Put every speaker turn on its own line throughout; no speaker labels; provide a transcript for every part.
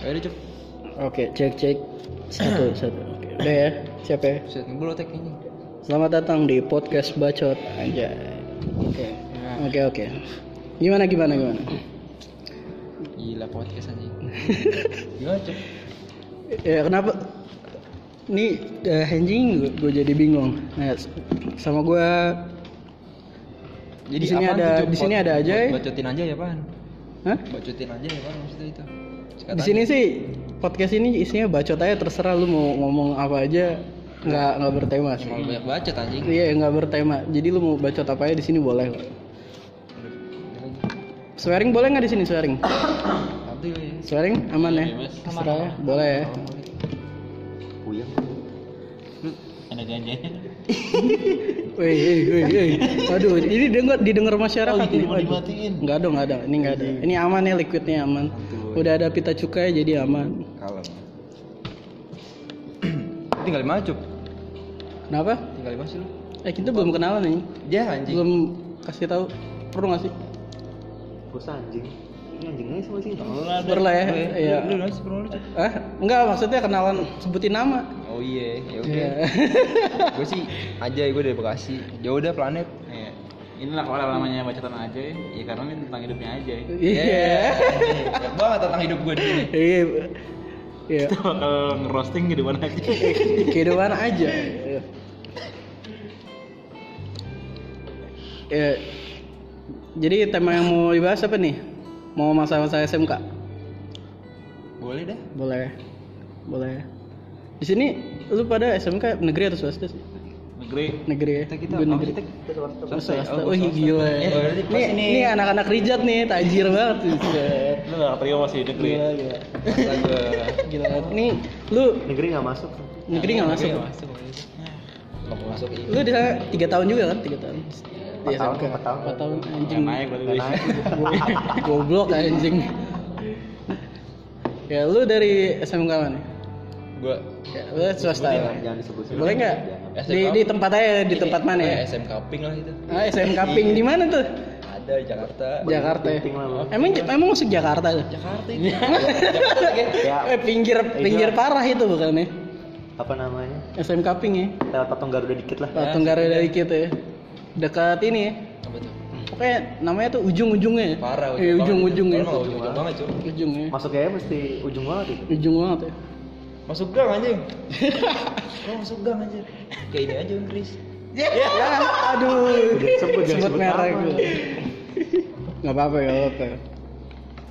Ayo deh, Cep.
Oke, cek cek satu satu. Oke, Udah ya, siap ya.
Set ngebul otak ini.
Selamat datang di podcast bacot aja. Oke,
Nah,
oke oke. Gimana gimana gimana?
gila podcast anjing. Iya, Gimana, Cep?
Ya kenapa? Nih eh, anjing gue jadi bingung. Nah, s- sama gue Di sini
apaan
ada-
tuh, Cep?
di sini
Bot-
ada aja
bot-
ya?
Bacotin aja ya, Pan.
Hah?
Bacotin aja ya, Pan maksudnya itu. Sikat
Di
aja.
sini sih podcast ini isinya bacot aja terserah lu mau ngomong apa aja nggak nggak bertema sih.
Emang banyak bacot anjing.
Iya nggak bertema. Jadi lu mau bacot apa aja di sini boleh. kok. Swearing boleh nggak di sini swearing?
Nanti ya.
Swearing aman ya?
Iya, Mas.
Terserah ya, boleh ya.
Puyeng. Ada ganjanya.
Woi, woi, woi, woi. Waduh, ini denger didengar masyarakat
Oh, ini
nih.
mau
waduh.
dimatiin.
Nggak ada, nggak ada. Ini nggak ada. Ini aman ya liquidnya aman.
Ampun.
Udah ada pita cukai jadi aman.
eh. Kalem. Tinggal lima, Cep.
Kenapa?
Tinggal lima sih lu.
Eh kita belum kenalan nih.
Ya anjing.
Belum kasih tahu perlu nggak sih?
Bosan anjing. Anjing aja sama sih. Lah,
Perlu ya? Iya.
Lu lu sih perlu, Cep.
Ah, enggak maksudnya kenalan sebutin nama.
Oh iya, ya oke.
Iya.
gue sih aja gue dari Bekasi. Ya udah planet.
Iya. Inilah kalau namanya bacotan aja ya karena ini tentang hidupnya aja.
Iya.
Banyak banget tentang hidup gue di sini.
Iya. Iya.
Bakal ngerosting gitu mana aja.
kehidupan aja ya jadi tema yang mau dibahas apa nih mau masa-masa SMK
Boleh dah.
boleh boleh di sini lu pada SMK negeri atau swasta sih
Negeri
negeri ya
Kita kita
Gua
apa
negeri
sih, kita swasta.
swasta
Oh,
oh, iya,
swasta.
gila ya.
Eh, berarti
nih
pas ini.
nih anak-anak rijat nih tajir banget Buset.
lu gak terima masih negeri.
gila gila
Astaga.
gila banget. nih lu
Negeri gak masuk.
negeri nggak masuk
Nggak masuk. Nggak mau masuk iya. ini.
lu di sana tiga tahun juga kan tiga tahun
Empat tahun,
SMK.
empat tahun.
Empat tahun
Gak
anjing
naik berarti.
Goblok anjing. Ya lu dari SMK mana?
Gue
Ya, lu swasta. ya?
Jangan disebut.
Boleh nggak? Di, di tempat aja di tempat mana ya?
SMK Ping lah itu.
Ah, SMK Ping di mana tuh?
Ada di Jakarta.
Jakarta. Ya? Emang emang masuk Jakarta tuh?
Jakarta ini. Jakarta kan.
Eh, pinggir pinggir parah itu bukan ya?
Apa namanya?
SMK Ping ya?
Lewat patung Garuda dikit lah.
Patung Garuda dikit ya. Dekat ini ya.
Apa tuh?
Pokoknya namanya tuh ujung-ujungnya ya.
Parah.
Eh, ujung-ujung ya.
Parah, Ujung-ujung banget cuy.
Ujungnya.
Masuknya mesti ujung banget itu.
Ujung banget ya.
Masuk gang anjing. Kok masuk gang anjing? Kayak ini aja Chris.
Ya, aduh.
Sebut
sebut merek gue. Gak apa-apa ya, apa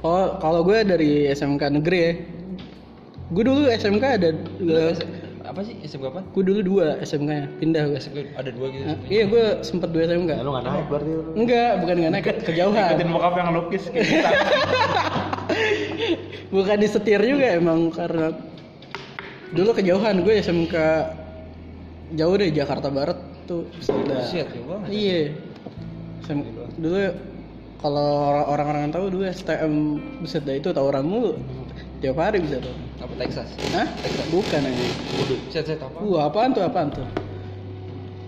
Oh, kalau gue dari SMK negeri ya. Gue dulu SMK ada
Apa sih SMK apa?
gue dulu dua SMK nya pindah gue.
SMK ada dua gitu.
Nah, iya gue sempet dua SMK.
Ya,
Lu gak naik berarti lu.
Enggak, bukan gak naik ke-
Ikutin
kejauhan.
bokap yang lukis gitu. kayak kita.
Bukan disetir juga emang karena dulu kejauhan gue SMK jauh dari Jakarta Barat tuh. udah-
Shit, ya jauh banget.
Iya. Sem- dulu kalau orang-orang yang tahu dulu STM buset dah itu tawuran mulu. Tiap hari bisa tuh.
Apa Texas?
Hah? Bukan aja.
Set set apa?
Wah, apaan tuh apaan tuh?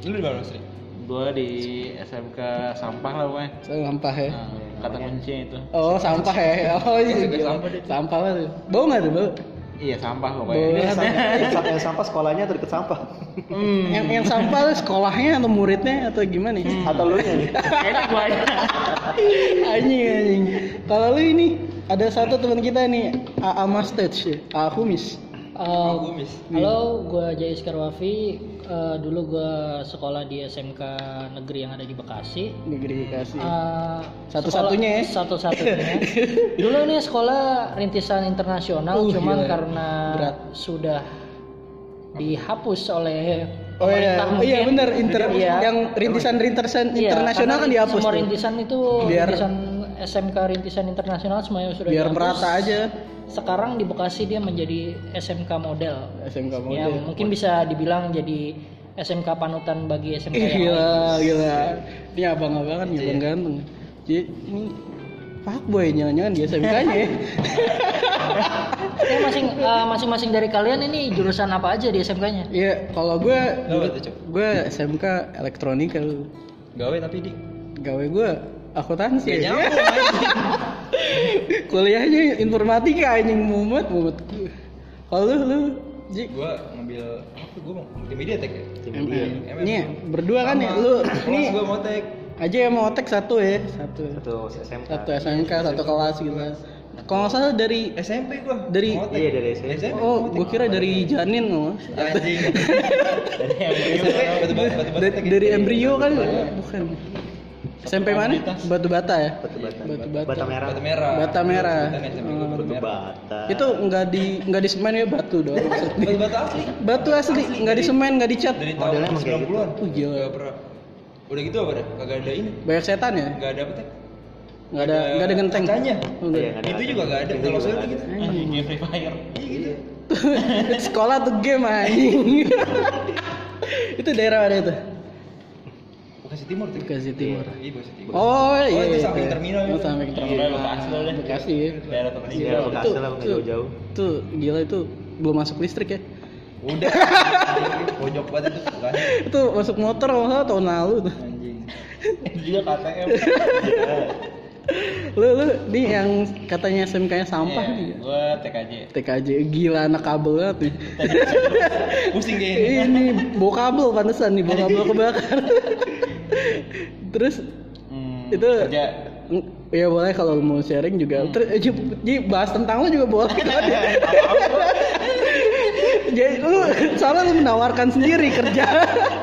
Lu di mana sih?
Gua di SMK sampah lah pokoknya.
Sampah
Eh?
ya.
Nah, Kata kunci itu.
Oh, sampah ya. Oh, iya.
Juga
gila.
sampah deh.
Sampah lah tuh. Bau nggak tuh, bau?
Iya sampah
Bau
pokoknya.
lah sampah.
Yang sampah sekolahnya atau deket sampah?
Yang, yang sampah tuh sekolahnya atau muridnya atau gimana?
Atau lu nya nih? Kayaknya gua aja.
anjing anjing. Kalau lu ini ada satu teman kita nih, AA Mustache, ya? AA Humis.
Oh, gue miss.
Iya.
Halo, gue Jais Karwafi. Eh, dulu gue sekolah di SMK negeri yang ada di Bekasi.
Negeri Bekasi.
Eh,
Iya. Satu-satunya ya?
sekolah- Satu-satunya. dulu ini sekolah rintisan internasional,
Uh,
cuman
gila.
karena
Berat.
sudah dihapus oleh
Oh iya,
pemerintah
Oh, iya
mungkin.
benar inter
Iya.
yang rintisan rintisan
Iya,
internasional
karena
kan dihapus.
Semua
tuh.
rintisan itu
Biar-
rintisan SMK rintisan internasional semuanya sudah
Biar
dihapus.
merata aja
Sekarang di Bekasi dia menjadi SMK model.
SMK
Ya,
model.
mungkin bisa dibilang jadi SMK panutan bagi
Ih,
SMK yang lain.
gila, gila. Ini abang-abang
Iya.
kan abang ganteng. Jadi ini Pak Boy jangan-jangan di SMK-nya ya.
Oke, masing eh, masing-masing dari kalian ini jurusan apa aja di SMK-nya?
Iya, kalau gue
Gawe tuh, Cok.
gue SMK elektronika lu.
Gawe tapi di.
Gawe gue akuntansi.
Gak nyambung anjing.
Kuliahnya informatika anjing mumet mumet. Kalau lu lu Ji
Gua ngambil apa gua mau multimedia tek ya.
MM.
MM.
Nih, berdua kan ya lu
ini
nih
gua mau tek.
aja yang mau otek satu ya, satu.
Satu SMK.
Satu SMK, satu kelas gitu. Kalau nggak salah dari
SMP gua.
Dari-
mau tek.
Iya, dari SMP.
Oh, gua kira dari janin loh.
anjing. Dari
Dari,
ya.
dari embrio kan bukan. SMP mana? Batu bata ya?
Batu bata.
Batu bata.
Bata merah.
Bata merah.
Bata merah.
Kita nggak SMP gua
Oh.
batu
Batu
merah.
bata.
Itu nggak di nggak di semen ya batu doang.
Batu bata asli.
batu asli, nggak di semen, nggak dicat.
Dari
Modelnya
tahun
emang kayak
90-an.
gitu. Oh, gila.
Nggak pernah. Udah gitu apa dah? Kagak ada ini.
Banyak setan ya?
Enggak ada apa tek.
Nggak ada nggak ada genteng.
Kacanya.
Oh, nggak.
Iya, nggak ada
Itu
kacanya.
juga nggak ada.
Itu
Kalau
juga
saya
nggak
gitu.
Anjing dia Free Fire.
Iya gitu.
Sekolah tuh game anjing. itu daerah mana itu?
Bekasi Timur tek.
Bekasi Timur.
Iya Bekasi Timur.
Oh, iya.
itu
iya.
samping terminal
Oh,
gitu.
samping terminal.
Terminal Bekasi lo deh.
Bekasi ya.
Daerah tempat
Iya,
tinggal.
Bekasi lah, nggak jauh-jauh.
Itu gila itu belum masuk listrik ya.
Udah. Pojok banget itu Bekasi.
Itu masuk motor kalau nggak salah tahun lalu tuh.
Anjing.
Dia KTM.
Lu lu nih yang katanya SMK-nya sampah ya?
Iya,
nih.
Gua TKJ.
TKJ gila anak kabel banget nih.
Pusing kayaknya.
Ini bawa kabel pantesan nih, bawa kabel kebakar. Terus
Hmm,
Itu-
kerja
ng- ya boleh kalau lu mau sharing juga. Terus eh, Ji, Ji, bahas tentang lu juga boleh. Jadi lu soalnya lu menawarkan sendiri kerja.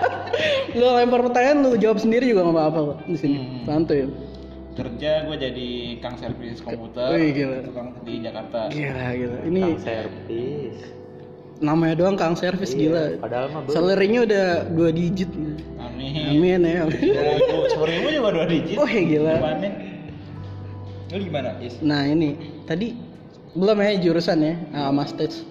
lu lempar pertanyaan lu jawab sendiri juga nggak apa-apa kok di sini.
Hmm.
Santuy.
kerja gua jadi kang servis komputer.
Wih, gila.
Tukang di Jakarta.
Gila gila. Ini
Kang servis.
namanya doang Kang Servis
Iya,
gila.
Padahal mah belum.
Salarinya udah dua digit.
Amin.
Amin ya. amin.
Sepuluh ribu juga dua digit.
Oh ya gila.
Depannya.
Lu gimana? Yes.
Nah ini tadi belum ya jurusan ya ah, Mas Tej.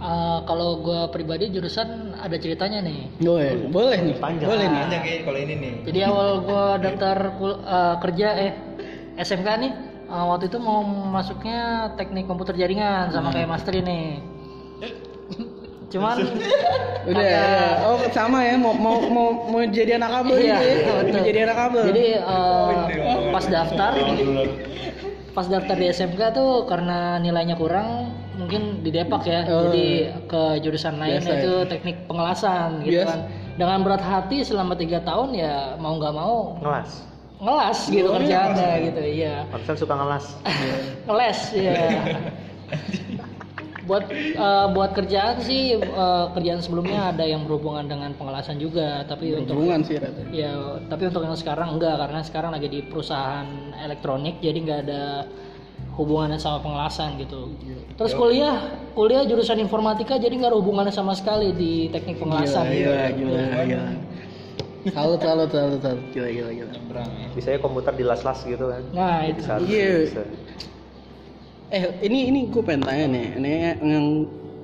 Eh, kalau gue pribadi jurusan ada ceritanya nih.
Boleh, boleh nih.
Panjang.
Boleh nih.
Panjang kayaknya kalau ini nih.
Jadi awal gue daftar kul- eh, kerja eh SMK nih eh, waktu itu mau masuknya teknik komputer jaringan sama
Hmm.
kayak Master ini. Cuman
Udah.
ada-
ya. Oh sama ya mau mau mau, mau jadi anak kabel
Iya,
gitu ya.
betul.
Mau jadi anak kabel.
Jadi eh, pas daftar pas daftar di SMK tuh karena nilainya kurang mungkin di Depak ya.
Oh.
Jadi ke jurusan lain
Biasa ya.
itu teknik pengelasan gitu
Biasa.
kan. Dengan berat hati selama tiga tahun ya mau nggak mau
Ngelas.
ngelas gitu
Oh,
kerjaannya gitu iya
Pantesan suka ngelas.
Iya.
ngeles ya buat eh, buat kerjaan sih eh, kerjaan sebelumnya ada yang berhubungan dengan pengelasan juga tapi untuk
Berhubungan sih rata.
ya tapi untuk yang sekarang enggak karena sekarang lagi di perusahaan elektronik jadi nggak ada hubungannya sama pengelasan gitu
Iya. Ya,
terus kuliah kuliah jurusan informatika jadi nggak ada hubungannya sama sekali di
Iya,
teknik pengelasan gitu.
Gila, gila, gila. Salut, salut, salut, salut. Gila, gila, gila.
Nyebrang ya.
Biasanya komputer dilas-las gitu kan.
nah itu
Bisa.
Iya.
bisa.
Eh, ini ini gue pengen tanya nih. Ini yang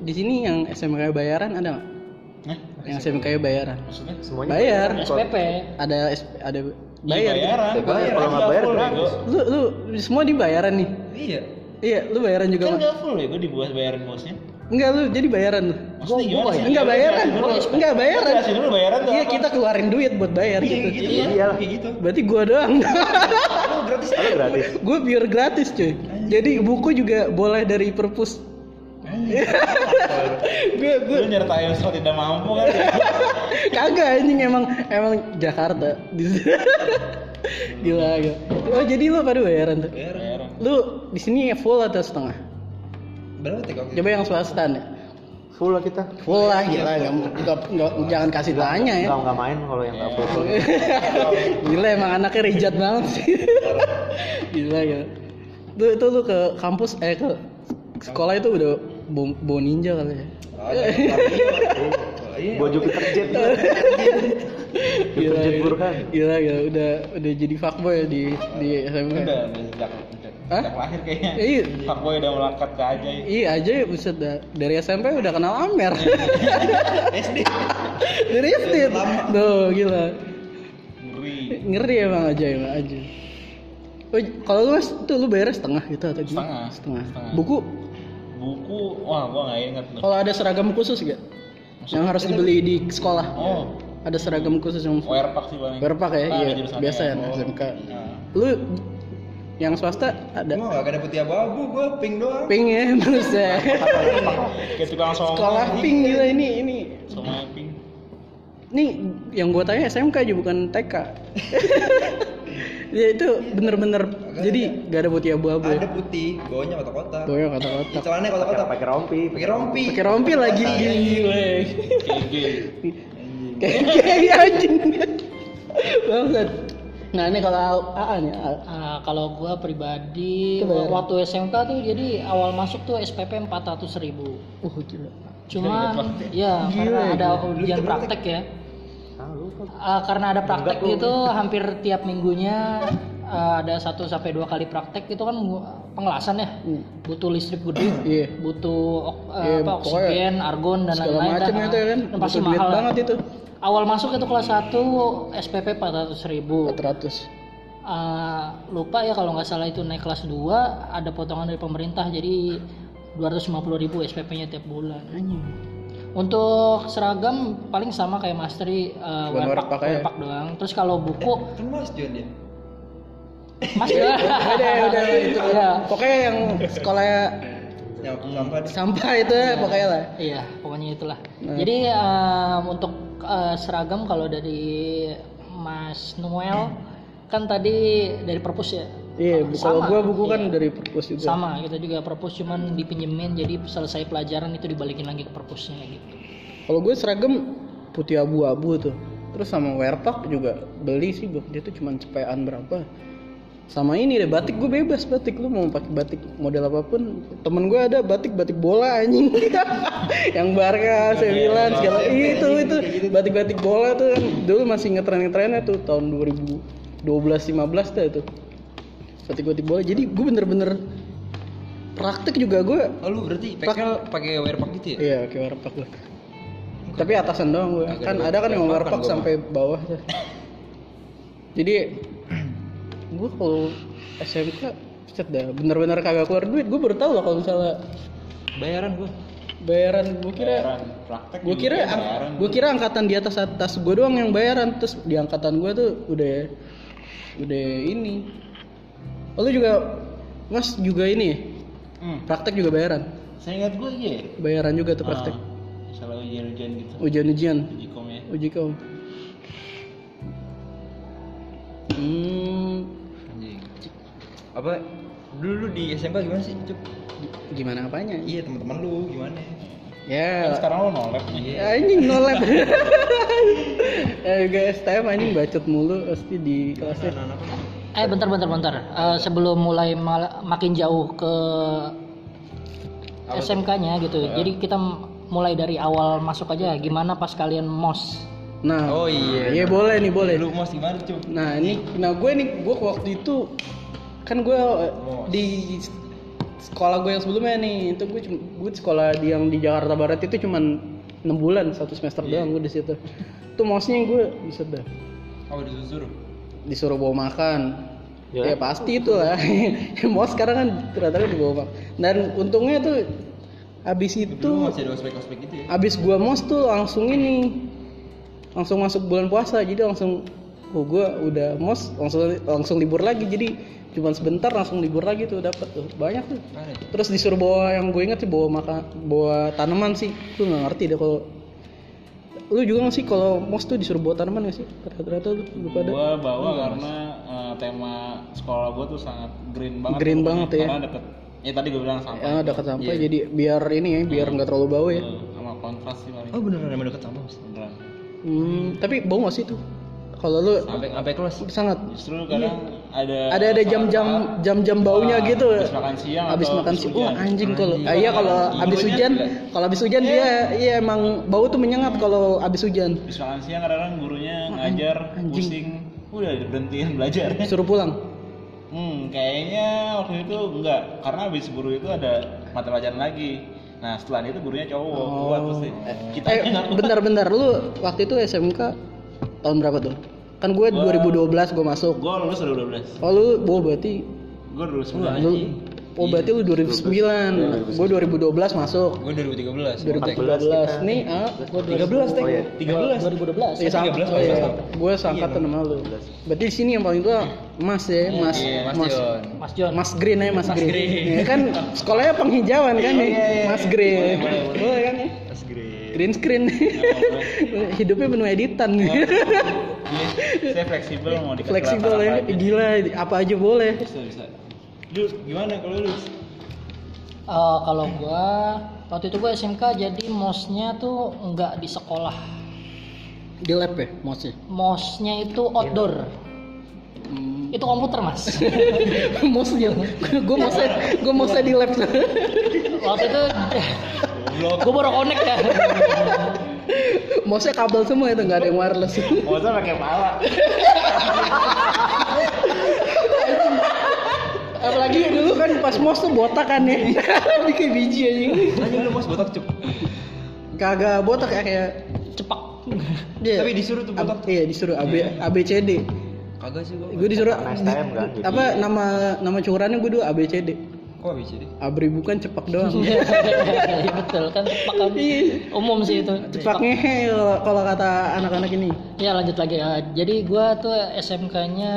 di sini yang SMK bayaran ada nggak?
Hah?
Yang SMK bayaran.
Maksudnya?
Semuanya
Bayar.
SPP
Ada SP, ada
Iya,
bayar. gitu.
Bayaran.
Bayar, kalau nggak bayar
full,
gratis.
Bego.
Lu lu semua dibayaran nih.
Iya.
Iya, lu bayaran juga.
Kan
Mas?
nggak full ya, gue dibuat bayaran bosnya.
Enggak lu jadi bayaran lu.
Maksudnya gimana sih?
Enggak bayaran. Enggak bayaran.
Jelasin dulu bayaran tuh
Iya,
apa.
kita keluarin duit buat bayar gitu.
gitu.
Iya lah.
Kayak gitu.
Berarti gua doang.
Lu gratis.
Kalau gratis.
gue biar gratis cuy. Jadi buku juga boleh dari perpus. gue gue
Lu nyertain soal tidak mampu kan ya.
kagak anjing emang emang Jakarta. gila gila. Oh jadi lu pada bayaran tuh.
Bayaran.
Bayaran.
Lu di sini full atau setengah?
Berapa tek
Iya.
waktu itu?
Coba yang swasta nih.
Full lah kita.
Full lah gila nggak nggak- nggak- jangan kasih tanya ya.
Kalau nggak main kalau yang nggak full full.
Eh. Gila emang anaknya rejat banget sih. Gila ya. Itu itu lu ke kampus eh ke sekolah itu udah bom, bom ninja kali ya.
Oh, iya. Oh, Iya.
Gua Jupiter Jet. Jupiter
Gila,
Jet
gila.
Burhan.
Gila gila udah udah jadi fuckboy ya di di SMK.
Udah, udah sejak sejak
Hah?
sejak lahir kayaknya.
Iya.
Pak Boy udah melangkat ke aja.
Iya aja ya buset dah. Dari SMP udah kenal Amer.
SD.
Dari SD. Tuh gila.
Ngeri.
Ngeri emang aja emang aja. Oh, kalau lu Mas, tuh lu bayar setengah gitu atau
Setengah.
gimana?
Setengah.
Buku
Buku, wah gua nggak inget tuh.
kalau ada seragam khusus gak? Yang harus dibeli di sekolah.
Oh,
Ada seragam khusus yang
wear pack sih Nah, paling.
berpak ya?
Ah, ada
Iya,
jurusannya.
biasa ya
Oh.
SMK.
Nah,
Lu Yang swasta ada.
Gua gak ada putih abu-abu, gua pink doang.
Pink ya manusia.
Kayak tukang somai.
Sekolah pink gila ini ini.
Somai pink.
Nih yang gua tanya SMK aja bukan TK. ya itu bener-bener jadi gak ada putih abu-abu ya.
Ada putih, bawahnya kotak-kotak.
Goyang kotak-kotak.
Celananya kotak-kotak.
Pakai rompi.
Pakai rompi.
Pakai rompi lagi
Iya.
Kotak-kotak.
gila.
Gigi.
Kayak kayak anjing. Bangsat. Nah ini kalau AA nih AA.
Ah, kalau gua pribadi
Itu bayar.
waktu SMK tuh jadi awal masuk tuh SPP 400.000 ribu
Uh gila.
cuman ya
Gila,
karena
gila.
ada ujian praktek ya
Ah, lupa.
Ah, karena ada praktek gitu hampir tiap minggunya ah, ada satu sampai dua kali praktek itu kan pengelasan ya
Hmm.
butuh listrik gede
Iya.
butuh ok- eh,
Iya,
apa,
pokoknya
oksigen argon dan
Segala
lain-lain
macam
dah.
itu ya kan.
Dan pasti
Butuh duit
mahal
banget itu.
awal masuk itu kelas 1 SPP 400.000 ribu
400.
Ah, lupa ya kalau nggak salah itu naik kelas 2 ada potongan dari pemerintah jadi 250.000 SPP-nya tiap bulan. Untuk seragam paling sama kayak Mastery uh,
Cuman
wepak,
wepak aja.
wepak doang. Terus kalau buku
Kan Mas John ya?
Mas ya.
Iya. udah udah itu ya.
Iya.
pokoknya yang sekolahnya
Nyampe Ya, sampah deh.
sampah itu ya, pokoknya lah
Iya, pokoknya itulah.
Nah.
Jadi um, untuk uh, seragam kalau dari Mas Noel kan tadi dari perpus ya.
iya bu- kalau
Sama.
gua buku kan
Iya.
dari perpus juga
Sama, kita juga perpus cuman dipinjemin jadi selesai pelajaran itu dibalikin lagi ke perpusnya gitu.
kalau gue seragam putih abu-abu tuh terus sama werpak juga beli sih gua dia tuh cuman cepean berapa sama ini deh batik gue bebas batik lu mau pakai batik model apapun temen gue ada batik batik bola anjing yang Barca, Sevilla segala itu itu batik batik bola tuh kan dulu masih ngetren ngetrennya tuh tahun 2012 15 dah tuh batik batik bola jadi gue bener-bener praktek juga gue
Oh lu berarti PKL pakai wearpack gitu ya?
Iya, kayak warpak gue. Tapi atasan doang gue. Kan ada kan yang warpak sampai bawah tuh. Jadi gue kalau SMK set dah bener-bener kagak keluar duit. Gue baru tahu loh kalau misalnya
Bayaran gua.
bayaran gue kira
Bayaran Iya, praktek.
gue kira gue kira angkatan di atas atas gue doang yang bayaran terus di angkatan gue tuh udah udah ini oh, lu juga mas juga ini ya?
Hmm.
praktek juga bayaran
Saya ingat gue iya. ya.
bayaran juga tuh praktek
Ah, Salah ujian-ujian gitu.
ujian-ujian
Uji kom ya.
Uji kau. Hmm,
Anjing. Apa dulu lu di SMK gimana sih? Cuk?
gimana apanya?
Iya teman-teman lu gimana? Eh, Kan
Ya,
Sekarang lo nolep nih.
iya.
anjing nolak. eh guys, STM anjing bacot mulu pasti di kelasnya.
Eh bentar bentar bentar. Eh, sebelum mulai mal- makin jauh ke SMK-nya
Ya.
gitu. Jadi kita m- mulai dari awal masuk aja gimana pas kalian mos.
Nah,
Oh iya.
Iya boleh nih boleh.
Lu mas gimana cuy?
Nah ini, nah gue nih, gue waktu itu kan gue eh, di s- sekolah gue yang sebelumnya nih itu gue cuma gue di sekolah di yang di Jakarta Barat itu cuman enam bulan satu semester
Iya.
doang gue di situ. Itu mosnya gue bisa dah
Apa disuruh?
disuruh bawa makan. Ya,
Ya.
pasti itu lah. Mau sekarang kan rata-rata dibawa makan. Dan untungnya tuh abis
Dulu
itu
masih ada ospek-ospek gitu ya?
abis gua mos tuh langsung ini langsung masuk bulan puasa jadi langsung oh gua udah mos langsung langsung libur lagi jadi cuma sebentar langsung libur lagi tuh dapat tuh banyak tuh
Mana? ya?
terus disuruh bawa yang gue inget sih bawa makan bawa tanaman sih lu nggak ngerti deh kalau lu juga nggak sih kalau mos tuh disuruh bawa tanaman nggak sih rata-rata lu lu pada
Gue bawa karena eh, tema sekolah gue tuh sangat green banget.
Green banget ya.
Karena deket. Ya tadi gue bilang sampah.
ya dekat sampah
iya.
jadi biar ini ya
Hmm.
biar nggak terlalu bau ya
Tuh, Eh, Sama kontras sih paling.
Oh beneran emang deket sama mas?
Beneran.
hmm, tapi bau nggak sih tuh kalau lu
Sampai sampai kelas.
sangat
Justru kadang ada
Iya. ada ada jam-jam jam-jam baunya
Eh, Ah,
gitu
Habis makan siang.
habis
atau
makan sih wah
hujan.
anjing kalau ah, iya kalau habis
Baunya
hujan
gila.
kalau habis hujan dia iya emang bau tuh menyengat kalau habis hujan
Habis makan siang kadang-kadang gurunya ngajar
anjing.
pusing. Udah berhentiin belajar.
suruh pulang
Hmm, kayaknya waktu itu enggak, karena habis guru itu ada mata pelajaran lagi. Nah, setelah itu gurunya cowok, kuat pasti. Kita
Oh. eh bentar-bentar lu waktu itu SMK tahun berapa tuh kan gue 2012 gue masuk
Gue lulus udah 12.
oh lu bau berarti
Gue lulus 12.
lu Oh berarti
Iya.
lu 2009. Gue 2012 masuk.
Gue 2013. kontak.
2013 nih, ah, gua
13 teh.
Oh, iya.
13.
Ya,
2012.
sama,
13,
oh, iya.
sama.
Gue seangkatan sama lu. Berarti di sini yang paling tua Mas ya, Mas,
Iya, Mas
Mas,
Dion.
Mas John.
Mas Green ya, Mas, Green.
Green. Iya,
Ya kan sekolahnya penghijauan kan nih, Mas Green.
Boleh, boleh, boleh.
Boleh kan ya?
Mas Green.
Green screen. Hidupnya penuh editan.
Iya, saya fleksibel mau dikasih
Fleksibel
latar
ya,
apa aja.
gila apa aja boleh.
Bisa bisa. Lu gimana kalau lu?
Eh, kalau gua waktu itu gua SMK jadi mosnya tuh nggak di sekolah.
Di lab ya, mouse
Mosnya itu outdoor.
Hmm.
Itu komputer, Mas.
mouse dia. Gue mouse gue mouse di lab.
waktu itu gua baru connect ya.
mouse kabel semua itu nggak ada yang wireless.
Mau saya pakai pala.
Apalagi dulu kan pas mos tuh botak kan ya. Bikin biji aja.
Anjing lu bos botak cep.
Kagak botak ya kayak cepak. Iya.
Tapi disuruh tuh botak.
Ab- iya disuruh AB ABCD.
Kagak sih gua.
Gue disuruh
Next time kan, jadi-
apa nama nama curannya gue dulu ABCD.
Kok bisa deh?
Abri bukan cepak doang. Iya.
Iya, betul kan cepak kan umum sih itu.
cepak ngehe kalau- kalau kata anak-anak ini.
Ya lanjut lagi. Eh, jadi gua tuh SMK-nya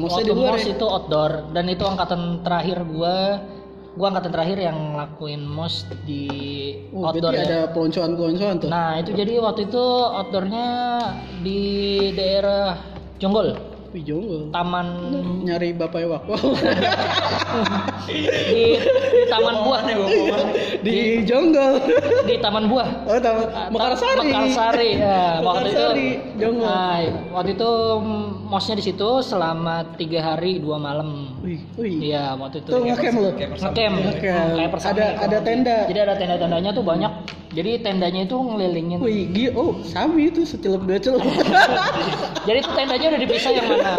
Mosnya
waktu
di luar
mos
ya?
itu outdoor dan itu angkatan terakhir gua gua angkatan terakhir yang ngelakuin mos di
Oh,
outdoor
berarti
ya.
ada peloncoan-peloncoan tuh.
Nah itu jadi waktu itu outdoornya di daerah Jonggol,
Wih, jonggol.
taman
Nyari bapak Ewak.
di, di taman buah
di jonggol.
di taman buah.
Oh, tahu Mekarsari.
Ah, Mekarsari. Ya, waktu itu.
Mekarsari, jonggol.
Nah, waktu itu mm, mosnya di situ selama tiga hari dua malam.
Wih, wih.
Iya waktu itu.
Tuh ngecamp lu.
Ngecamp.
Ngecamp.
Kayak persami. gitu.
Ada ada tenda.
Jadi ada tenda-tendanya tuh banyak. Jadi tendanya itu ngelilingin.
Wih, gila. Oh, Sami itu secelup dua celup.
Jadi tuh tendanya udah dipisah yang mana?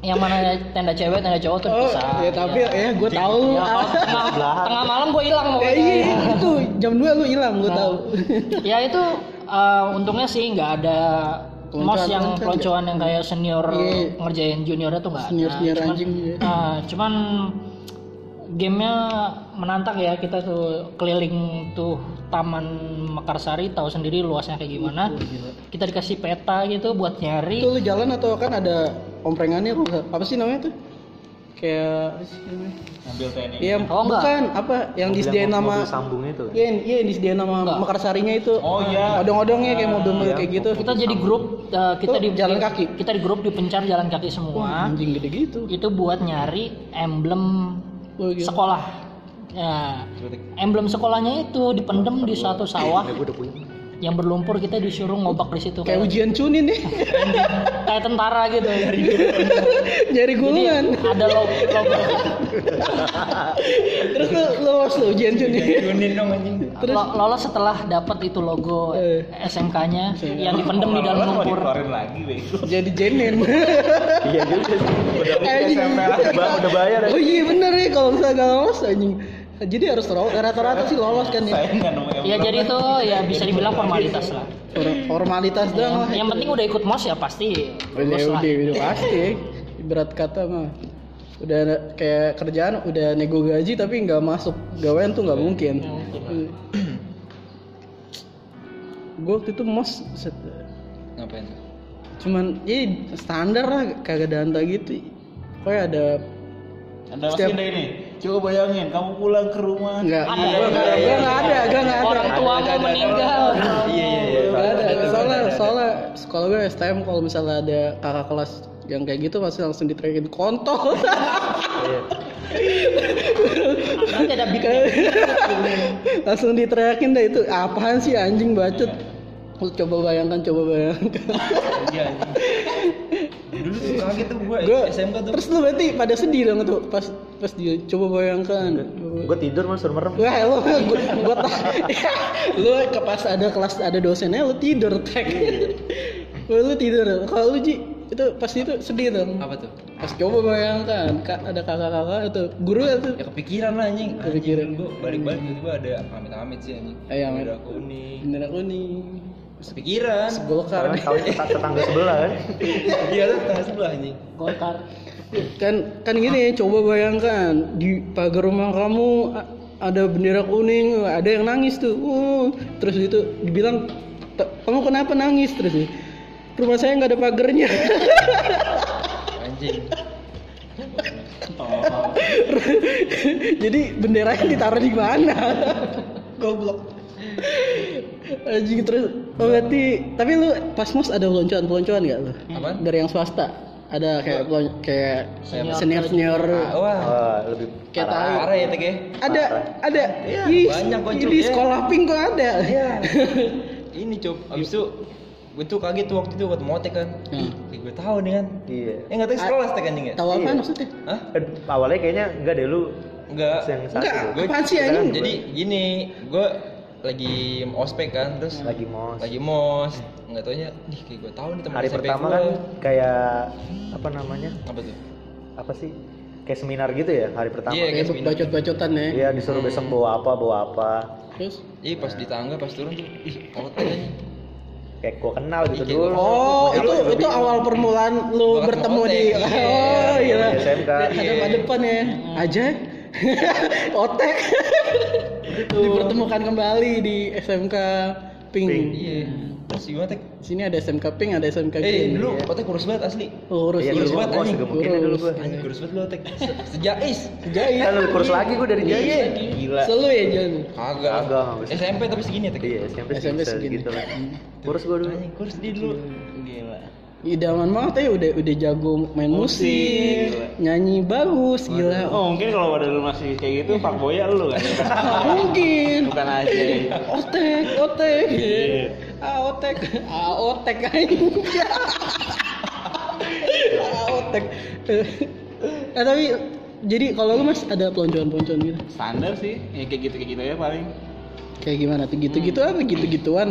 yang mana tenda cewek, tenda cowok tuh
oh,
dipisah.
ya tapi ya, gue tahu.
Ya, kalau tengah,
Belahan.
tengah malam gue hilang
Eh,
pokoknya.
iya, itu jam 2 lu hilang, gue
Nah,
tahu.
ya itu eh, untungnya sih nggak ada
Peloncoan-
mos yang
peloncoan
peloncoan yang kayak senior
kan, ya? Iya.
ngerjain juniornya tuh nggak ada.
Senior-senior
Cuman-
anjing, iya.
ah, cuman gamenya menantang ya kita tuh keliling tuh taman Mekarsari tahu sendiri luasnya kayak gimana kita dikasih peta gitu buat
Itu
nyari
lu jalan atau kan ada omprengannya kok nggak? apa sih namanya tuh? Kayak apa sih namanya?
Mobil TNI.
Iya,
Oh, enggak.
bukan apa yang disediain nama
sambung itu kan.
Iya, iya yang disediain nama
Enggak. Ah,
Mekarsarinya itu.
Oh iya.
Odong-odongnya kayak mobil-mobil
Iya.
kayak gitu.
kita jadi grup eh, kita
Tuh,
di
jalan kaki.
kita di grup dipencar jalan kaki semua
Anjing gede gitu.
itu buat nyari emblem
Wah, gila.
sekolah ya emblem sekolahnya itu dipendem di suatu sawah
Gue udah punya.
yang berlumpur kita disuruh ngobak di situ
Kayak
kayak,
ujian cunin nih,
kayak tentara gitu
nyari gulungan.
jadi ada logo, logo
Terus lu lolos lu ujian cunin.
Junin dong anjing.
lo- lolos setelah dapat itu logo
Eh.
SMK-nya yang dipendem di dalam
Kalau mau
lumpur
dikeluarin lagi bego.
Jadi jenen.
Iya juga sih. Udah
Anjing.
Ba- udah bayar ya.
Oh iya bener ya kalau misalnya gak lolos anjing. Jadi harus ro- rata-rata sih lolos kan ya.
Saya nggak nemu emang.
ya jadi itu ya bisa dibilang formalitas lah
For- Formalitas doang lah.
yang, yang penting udah ikut mos ya pasti
Udah,
lulus lah
udah, udah pasti. ya. Berat kata mah. Udah ada- kayak kerjaan udah nego gaji tapi nggak masuk gawean tuh nggak mungkin. Gue waktu itu mos set-
Ngapain tuh?
cuman ya standar lah kagak danta gitu. Pokoknya ada
Anda pasti
Setiap-
ada ini. Coba bayangin kamu pulang ke rumah.
nggak?
Ada,
Gue nggak ada, gua nggak ada, gua nggak ada.
orang tua
Ada,
mau
ada,
meninggal
Iya iya iya.
Gak ada, soalnya, soalnya sekolah gue STM kalau misalnya ada kakak kelas yang kayak gitu pasti langsung ditrekin kontol.
nanti ada big name.
langsung diteriakin deh itu apaan sih anjing bacot Lu coba bayangkan coba bayangkan
Iya. anjing. Dulu tuh kaget tuh gua
gue
SMK tuh.
terus lu berarti pada sedih dong tuh pas pas dia coba bayangkan
Gue tidur malah suruh merem.
Wah, lu gua, gua ta- lu ke pas ada kelas ada dosennya lu tidur tek. Wah, lu tidur. Kalau lu Ji itu pasti itu sedih dong.
Apa tuh?
Pas coba bayangkan Kak, ada kakak-kakak itu guru itu
Ya kepikiran lah anjing. Anjing,
Kepikiran.
Gua balik-balik tiba-tiba ada amit-amit sih anjing.
Eh, iya, amit.
Udah aku nih.
bendera kuning.
Sepikiran.
Golkar.
Tahu tetangga sebelah kan?
Iya lu tengah sebelah anjing.
Golkar.
kan kan gini coba bayangkan di pagar rumah kamu a- ada bendera kuning ada yang nangis tuh Uh, terus itu dibilang "T- kamu kenapa nangis terus dia, rumah saya nggak ada pagernya
Anjing.
jadi benderanya ditaruh di mana goblok Anjing terus oh berarti tapi lu pas mos ada peloncoan peloncoan nggak lu
Apaan?
dari yang swasta ada kayak pelon- kayak
Senior.
senior senior
Ah, Wah,
Wah, Oh, lebih
Kayak
parah.
tahu.
parah ya Teg ya.
ada ada
Iya,
Ih,
banyak kok,
di
Cuk, ya.
sekolah pink kok ada
Iya. Ini cop. Abis itu gue tuh kaget tuh waktu itu ketemu Otek kan.
Hmm.
Ih, gue tahu nih kan.
Iya.
Eh nggak tahu sekelas Teg anjing ya?
Tahu apa maksudnya?
Hah?
Eh, awalnya kayaknya enggak deh lu
Enggak.
yang satu.
Enggak,
deh.
Gua-
apaan sih anjing?
Jadi gini, gue lagi ospek kan, terus
Lagi mos.
lagi mos nggak taunya nih kayak gue tahu nih teman
Hari
SMP
pertama
gua.
kan kayak apa namanya?
apa tuh
Apa sih? Kayak seminar gitu ya hari pertama.
Iya.
Kayak bacot-bacotan ya.
Iya, disuruh besok bawa apa, bawa apa.
Terus
Iya pas di tangga pas turun tuh ih otak aja
Kayak gua kenal gitu
Iya,
dulu.
Oh, itu itu awal permulaan lu
Bakat
bertemu
sama
di
Otek, iya.
Oh, iya.
Di SMK.
Ada depan ya. Aja. Otek. Dipertemukan kembali di SMK Pink.
Pink.
iya terus gimana tek
Sini ada SMK Pink, ada SMK
eh
Green.
dulu otak kurus banget asli
Oh, urus
Iya,
urus
dulu gua
banget,
kos
anjing.
juga mungkin ya dulu gua.
anjing kurus banget lu otak Se- sejais
Jai.
Eh, lu kurus lagi gua dari jadi.
gila
Selalu ya Jan.
kagak
Kagak, nggak bisa.
SMP tapi segini tek
Iya, SMP sih
SMP
bisa
segini.
gitu lah. Kurus gua dulu.
anjing kurus dia dulu gila
Idaman banget ya udah udah jago main musik, nyanyi bagus, gila. Oh,
Oh mungkin kalau pada lu masih kayak gitu fuckboy-nya lu kan.
mungkin.
Bukan aja.
Otek, otek.
Iya.
Ah, otek. Ah, otek aja. Ah, otek. Eh, tapi jadi kalau lu Mas ada peloncoan-peloncoan gitu.
Standar sih. Ya kayak gitu kayak gitu ya paling.
Kayak gimana tuh gitu-gitu apa gitu-gituan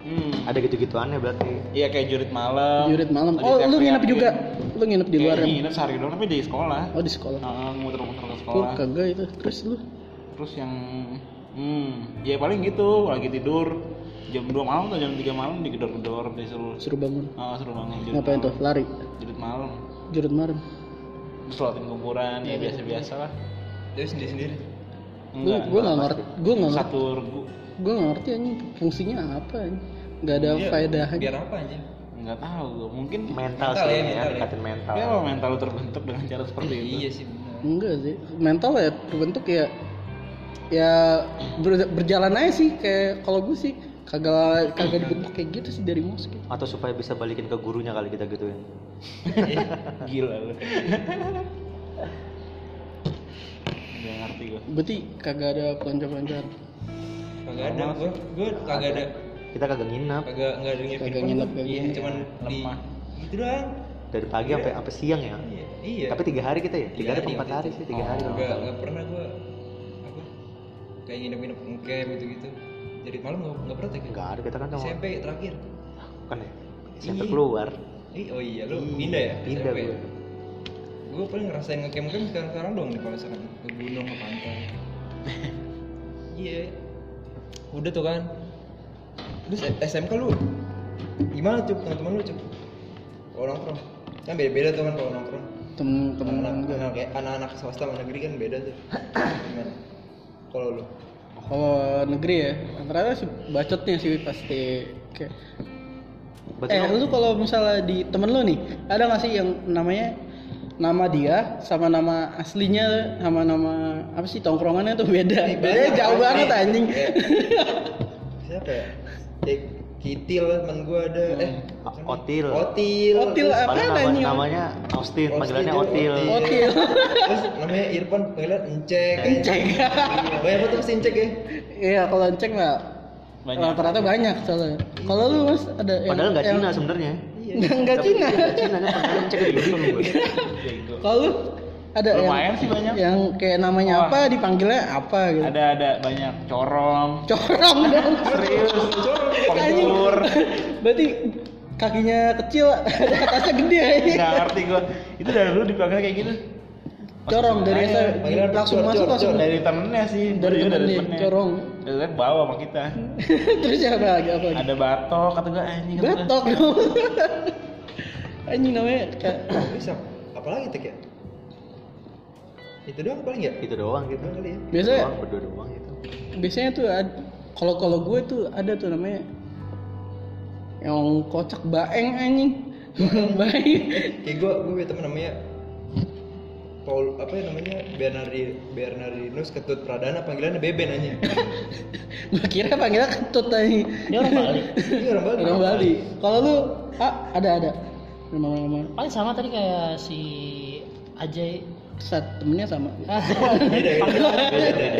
Hmm.
Ada gitu-gituannya berarti.
Iya kayak jurit malam.
jurit malam. Oh, lu nginep juga. Lu nginep di luar. ya?
gitu. Nginep sehari doang tapi di sekolah.
Oh, di sekolah.
Nah, muter-muter ke
Lu
sekolah.
kagak itu. Terus lu
Terus yang hmm, ya paling gitu lagi tidur jam 2 malam atau jam 3 malam digedor-gedor disuruh
suruh bangun.
ah suruh bangun jurit
Ngapain tuh?
malam.
Lari.
Jurit malam.
Jurut malam.
Terus latihan kuburan ya biasa-biasa lah.
dia sendiri sendiri
Gue
Enggak.
gua nggak ngerti. Gue nggak ngerti.
Satu regu
Gue nggak ngerti anjing fungsinya apa anjing. Gak ada faedahnya.
Iya, biar apa anjing
nggak tahu gua. mungkin
Mental
Mental sih
ya,
ya,
mental ya.
ningkatin mental.
ya kalau mental lu terbentuk dengan cara seperti itu.
iya sih bener
Enggak sih, mental ya terbentuk ya ya ber- berjalan aja sih kayak kalau gue sih kagak kagak dibentuk kayak gitu sih dari musik.
Atau supaya bisa balikin ke gurunya kali kita gituin.
Gila lu. Gak ngerti gua.
Berarti kagak ada peloncoan-peloncoan.
kagak ada gue gue kagak ada
Kita kagak nginap
kagak nggak ada yang
Kagak nginep, kagak
iya
nginep.
cuman di
Lemah.
gitu doang
dari pagi sampai sampai siang ya.
Iya, iya
Tapi tiga hari kita ya,
Tiga
tiga
hari
hari
Oh,
atau empat
waktu
hari
itu.
sih, tiga hari.
nggak nggak pernah gue apa kayak nginep-nginep ngecamp gitu-gitu jadi malam nggak nggak pernah tuh
Enggak ada kita kan sama
SMP terakhir
kan ya. SMP
Iya.
keluar.
Ih, oh iya lu pindah ya
Pindah
SMP
gue.
gue paling ngerasain ngecamp camp sekarang sekarang dong nih kalau sekarang ke gunung ke pantai iya udah tuh kan terus eh, SMK lu gimana tuh teman-teman lu tuh kalau nongkrong kan beda-beda tuh kan kalau nongkrong
Temen-temen gue.
anak-anak ya, anak-anak swasta sama negeri kan beda tuh gimana kalau lu
Kalau negeri ya, rata-rata sih bacotnya sih pasti kayak
Berarti kan
eh lu kalau misalnya di temen lu nih ada nggak sih yang namanya nama dia sama nama aslinya sama nama apa sih tongkrongannya tuh beda
Iya,
bedanya jauh banget anjing
siapa ya Kayak Kitil temen gue ada eh
O- Otil.
Otil
Otil
Terus-
apa
Padahal nama,
anjing
namanya Austin, panggilannya Otil.
Otil.
Otil
terus namanya Irfan panggilan Encek
iya.
Encek.
banyak banget tuh si Encek ya
Iya, kalau enceng nggak
Banyak.
rata-rata banyak soalnya. Kalau lu mas ada yang
Padahal enggak
yang-
Cina sebenarnya.
Nggak- nggak Cina. Iya.
Nggak Cina kan panggilan cek di Google Iya, gitu. gue.
Jago.
Kalau lu ada
Lumayan
yang
sih banyak.
yang kayak namanya
Wah.
apa dipanggilnya apa gitu.
Ada ada banyak corong.
Corong dong.
Serius.
Anjing.
Kontur.
Berarti kakinya kecil, atasnya gede.
Gak ngerti gua. Itu dari dulu dipanggil kayak gitu.
Corong dari
Makanya,
saya
panggilan
langsung
cor,
masuk
cor,
langsung.
cor.
dari temennya sih
Dari
Iya,
temennya, corong.
dari temennya bawa sama kita
Terus siapa lagi apa lagi?
ada batok kata gue anjing kata gua.
Batok dong. Anjing namanya kayak
bisa apalagi tek ya itu doang paling ya
Itu doang gitu.
doang kali ya
biasanya
Doang, berdua doang gitu.
biasanya tuh ad- kalau kalau gue tuh ada tuh namanya yang kocak baeng anjing. Baeng.
kayak gue gue punya temen namanya Paul apa ya namanya Bernardi Bernardinus Ketut Pradana panggilannya Beben aja
Gue kira panggilnya ketut tadi.
Dia orang Bali.
ini orang Bali
Orang Bali. Kalau lu ah, ada ada. Nama-nama
Paling sama tadi kayak si Ajay.
set temennya sama.
beda ya
Panggilan-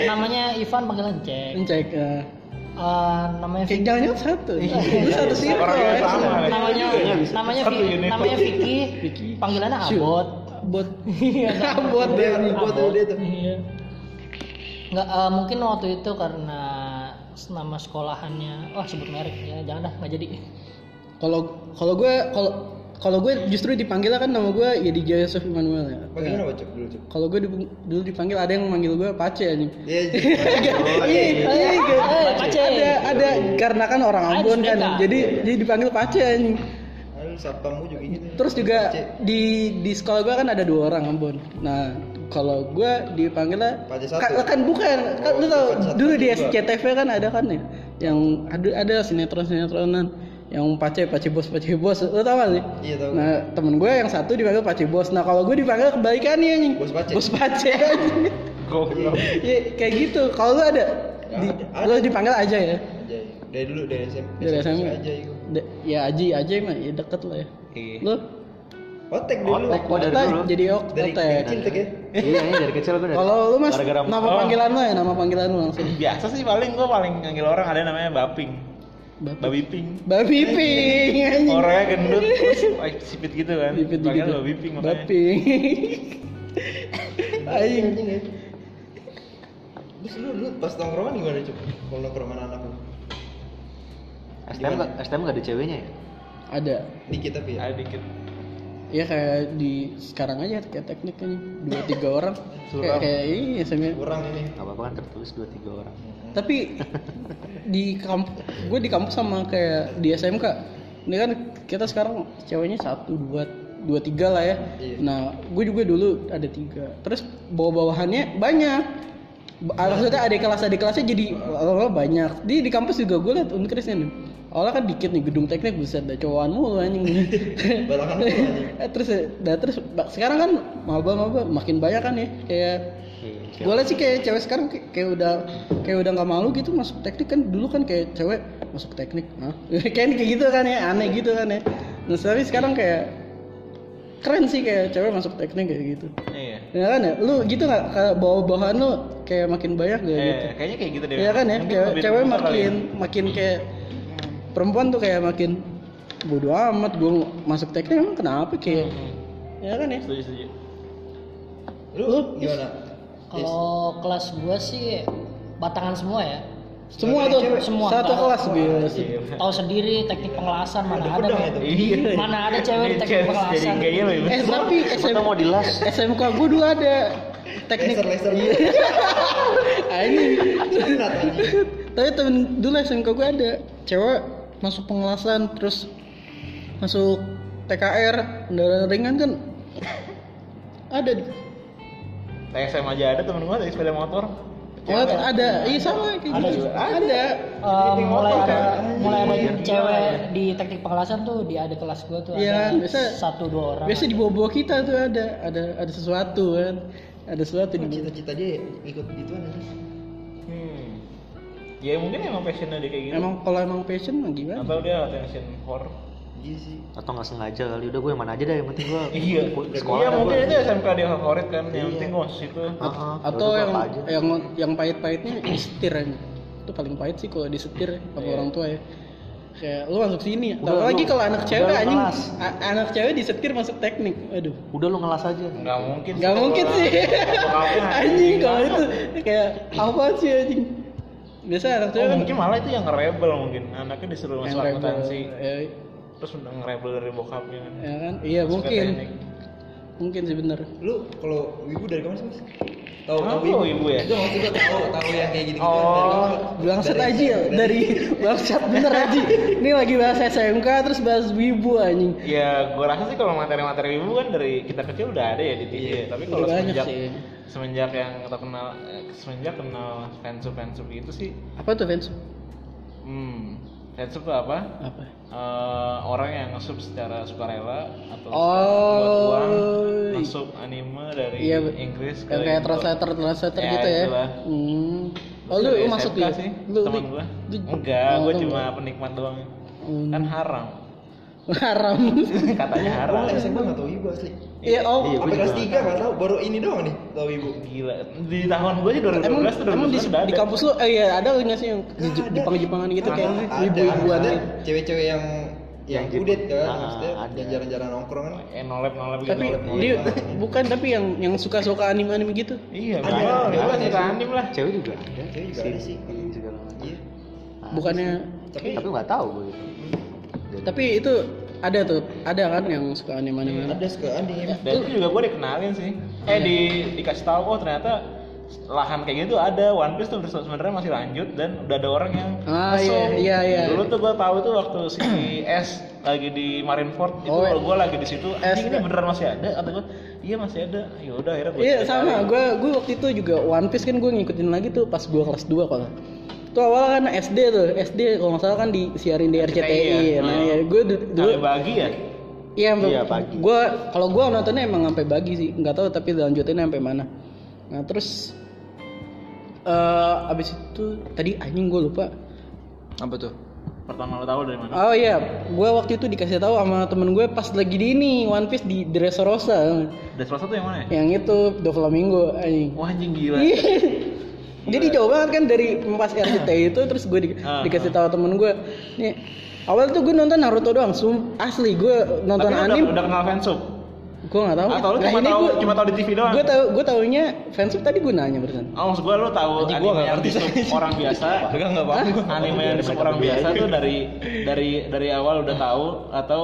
namanya Ivan panggilan Cek.
Cek eh,
Eh, namanya
kayak jangan kan satu. Nah, Lu satu sih.
orangnya sama
ya.
namanya namanya
Satu
Vi-
unicorn.
namanya Vicky.
Vicky.
Panggilannya
Syu.
Abot.
Bot.
Iya.
Bot
dia
deh.
buat tuh dia tuh
Iya. Nggak eh, mungkin waktu itu karena nama sekolahannya wah sebut merek ya jangan dah nggak jadi
Kalau kalau gue kalau kalau gue justru dipanggil kan nama gue Yedi Jaya Yusuf Immanuel ya.
bagaimana bocok dulu cok
Kalau gue di- dulu dipanggil ada yang manggil gue Pace anjing.
Iya,
Iya, iya, iya.
Pace.
Ada ada karena kan orang
Ah,
Ambon kan.
Sunda.
Jadi jadi dipanggil Pace anjing.
Aduh, satpammu juga gitu.
Terus juga
Pace.
di di sekolah gue kan ada dua orang Ambon. Nah, kalau gue dipanggilnya
Pace satu.
Ka- kan bukan kan
Oh,
lu tau
bukan satu,
dulu di
dua.
SCTV kan ada kan ya yang ada ada sinetron sinetronan yang pace pace bos pace bos lu tau gak sih
Iya, tahu.
nah temen gue yang satu dipanggil pace bos nah kalau gue dipanggil kebalikannya nih
Bos Pace.
bos pace
Goblok.
ya, kayak gitu kalau lu ada
Nggak
di,
ada.
lu dipanggil aja ya
Anjay. iya. Dari dulu dari SMP.
Dari SMP.
aja iya. itu.
De- ya Aji Aji mah ya deket lah ya
Iya.
lu
Otek dulu.
Otek. Oh, dari
otak
dulu.
jadi ok
Dari
otak.
kecil tek ya.
Iya, iya, dari kecil gue dari.
Kalau lu mas,
gara-gara
nama
Oh.
panggilan lu ya, nama panggilan lu langsung.
biasa sih paling gue paling nganggil orang ada namanya baping
Babi,
babi ping
babi ping, anjing.
orangnya gendut terus eh, sipit gitu kan
Bipit
Panggil
gitu.
babi ping makanya
Babi. Aing.
Terus lu dulu pas nongkrongan gimana cok? Kalau nongkrongan anak lu.
STM nggak STM nggak ada ceweknya ya?
Ada.
Dikit tapi ya.
ada dikit
Ya kayak di sekarang aja kayak teknik ini dua tiga orang kayak kayak iya sambil.
Kurang ini.
Gak apa-apa kan tertulis dua tiga orang.
Tapi di kamp, gue di kampus sama kayak di SMK. Ini kan kita sekarang ceweknya satu dua dua tiga lah ya.
Iya.
Nah, gue juga dulu ada tiga. Terus bawa-bawahannya banyak. Ba- Maksudnya ada kelas ada kelasnya jadi lama banyak. Di di kampus juga gue liat unkrisnya nih. Awalnya kan dikit nih gedung teknik buset ada cowokan mulu anjing.
Barangan lu anjing.
Eh, terus dah terus ba- sekarang kan maba-maba makin banyak kan ya kayak gue liat sih kayak cewek sekarang kayak, kayak udah kayak udah nggak malu gitu masuk teknik kan dulu kan kayak cewek masuk teknik Hah? kayak kayak gitu kan ya aneh gitu kan ya nah tapi sekarang kayak keren sih kayak cewek masuk teknik kayak gitu
iya
ya kan ya lu gitu nggak kayak bawa bahan lu kayak makin banyak gak gitu
eh, kayaknya kayak gitu deh
ya kan ya
Mungkin
cewek,
lebih
cewek
terbuka kali
makin
ya.
makin kayak perempuan tuh kayak makin bodoh amat gue masuk teknik emang kenapa kayak ya kan ya
Hmm. setuju setuju
Lu gimana?
kalau kelas gua sih batangan semua ya
semua tuh
Cewek.
Semua.
satu kelas gila
tahu sendiri teknik pengelasan mana ada, kan.
pedang
men.
itu.
iya
mana ada cewek di teknik
Chance jadi
pengelasan
kayaknya lebih
eh tapi SM,
Kita mau di las.
SMK gue dulu ada teknik
Laser laser gitu.
Ah, ini
Sunat, anjing.
tapi temen dulu SMK gue ada cewek masuk pengelasan terus masuk TKR kendaraan ringan kan ada di-
TSM aja ada temen gue dari sepeda motor
oh, ada iya sama kayak
Ada
gitu
juga.
ada
Eh, mulai ada mulai ada
Iya.
cewek di teknik pengelasan tuh di ada kelas gua tuh
Iya,
ada
biasa-
satu dua orang
biasa di bawah-bawah kita tuh ada ada ada sesuatu kan ada sesuatu
Cuma
di
Cita-cita dia ikut gituan ya, aja.
hmm ya mungkin emang passionnya dia kayak gitu
emang kalau emang passion mah gimana
atau dia attention whore
Iya sih.
Atau nggak sengaja kali. Udah gue mana aja dah yang penting gue.
Iya,
Sekolah.
iya
dah
mungkin
gua.
itu SMK dia favorit kan,
Iya.
yang penting gua situ.
Heeh,
atau
yaudah
yang
gua apa aja.
yang yang pahit-pahitnya disetir aja itu paling pahit sih kalau disetir ya, sama orang tua ya kayak lu masuk sini
Iya. Udah,
Atau lagi
lu-
kalau anak
udah,
cewek
lu
anjing
kelas.
a- anak cewek disetir masuk teknik aduh
Udah lu ngelas aja.
Nggak mungkin.
nggak mungkin sih anjing kalau
gitu.
itu kayak apa sih anjing biasa anak
Oh,
cewek kan
mungkin malah itu yang ngerebel mungkin. Anaknya disuruh
yang
masuk
rebel,
akuntansi,
ya,
terus udah ngerebel dari bokapnya kan.
ya kan iya
Suka
mungkin
teknik.
mungkin sih bener
Lu kalau Wibu dari kapan sih mas? Tahu
Kenapa
tahu Wibu?
lu Wibu ya?
Itu maksud gua tahu tahu yang kayak gitu.
bangsat aja ya dari bangsat bener aja ini lagi bahas SMK terus bahas wibu anjing
Ya, gua rasa sih kalau materi-materi ibu kan dari kita kecil udah ada ya di TV. Tapi kalau
Iya, Udah banyak
semenjak
sih
semenjak yang kita kenal eh, semenjak kenal fansub fansub itu sih,
apa tuh fans
hmm, fansub tuh apa?
apa
Eh, orang yang ngesub secara sukarela atau
Oh.
buat uang ngesub anime dari
Iya,
Inggris ke
yang kayak
Indo.
translator translator
Ya,
gitu ya
itulah.
hmm. oh lu,
Dari
lu
SMK
masuk ya
sih
lu
teman
lu-
gua
lu-
enggak
oh,
gua
lu
cuma penikmat doang
Hmm.
kan haram
haram
katanya haram
Gue SMA nggak tahu Wibu asli.
iya oh
Iya, gua
Sampai
juga
kelas tiga nggak tahu. Baru ini doang nih tahu Wibu.
gila di tahun gua aja 2012
Emang,
tuh
emang di,
2012
di
udah ada.
kampus lu eh ya ada nggak sih yang
Nggak ada.
Jepang-Jepangan gitu kayak
Ada,
wibu-wibuan gitu?
ada cewek-cewek yang ya? yang
Yang
kudet kan,
ah,
maksudnya
ada.
yang jarang-jarang nongkrong kan.
eh nolep nolep gitu
tapi dia bukan tapi yang yang suka-suka anime-anime gitu
iya
Ada,
ada
ada,
gua
ada.
suka anime lah
Cewek juga ada.
Cewek juga ada sih.
Iya, juga ada.
Iya.
Ada sih.
bukannya
Tapi
Tapi nggak tahu gue gitu.
tapi itu ada tuh ada kan yang suka anime-anime
ada suka anime.
dan itu juga gua dikenalin sih
Iya.
eh di dikasih tahu oh ternyata lahan kayak gitu ada One Piece tuh sebenarnya masih lanjut dan udah ada orang yang
ah iya iya iya
Dulu tuh gue tahu tuh waktu si S lagi di Marineford itu
Oh,
kalau gue lagi di situ
S
anjing ini beneran masih ada kata gue iya masih ada ya udah akhirnya gue
Iya sama, gue gue waktu itu juga One Piece kan gue ngikutin lagi tuh pas gue kelas 2 kalau nggak. Itu awalnya kan SD tuh, SD kalau nggak salah kan disiarin di RCTI.
ya.
Nah
Hmm.
ya, gue dulu,
Kami bagi ya
iya,
Iya, pagi.
pagi. Gue kalau gue nontonnya emang sampai pagi sih, nggak tahu tapi lanjutinnya sampai mana. Nah terus eh abis itu tadi anjing gue lupa. Apa tuh?
pertama lo tahu dari mana
Oh iya, gue waktu itu dikasih tahu sama temen gue pas lagi di ini One Piece di Dressrosa,
dari salah satu yang mana ya
yang itu Doflamingo anjing.
wah anjing gila
Iya, Jadi jauh banget kan dari pas RCTI itu terus gue di-
Ah,
dikasih tahu temen gue nih awal tuh gue nonton Naruto doang sum asli gue nonton
tapi lo udah,
anime
udah kenal fansub
gue nggak tahu Nah,
atau lo cuma tahu cuma tahu di TV doang
gue tahu gue taunya fansub tadi gue nanya barusan
oh maksud gue lo tahu
Anjing, gua
anime
nggak
yang
ngerti.
di sub orang biasa
Enggak enggak paham gua.
anime yang di sub orang biasa tuh dari dari dari awal udah tahu atau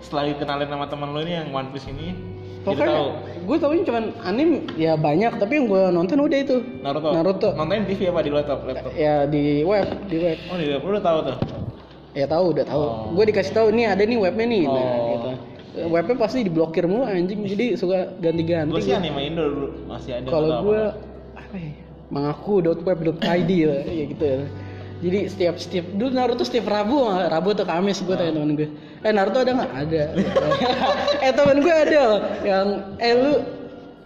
setelah dikenalin sama teman lo ini yang One Piece ini jadi
pokoknya
tahu
gue taunya cuman anime ya banyak tapi yang gue nonton udah itu
Naruto.
Naruto.
Nontonin di TV apa di laptop? Laptop.
ya di web di web
Oh, di laptop lu udah tahu tuh.
ya tahu udah tahu
Oh.
gue dikasih tahu nih ada nih webnya nih nah,
Oh.
gitu webnya pasti diblokir mulu anjing jadi suka ganti-ganti
Gue sih
gitu.
anime Indo dulu masih ada.
kalau
atau
gue
apa.
apa ya mengaku.web.id lah ya gitu ya jadi setiap setiap dulu Naruto setiap Rabu malah. Rabu atau Kamis gue
Ah.
tanya temen gue eh Naruto ada nggak ada eh temen gue ada loh. yang eh lu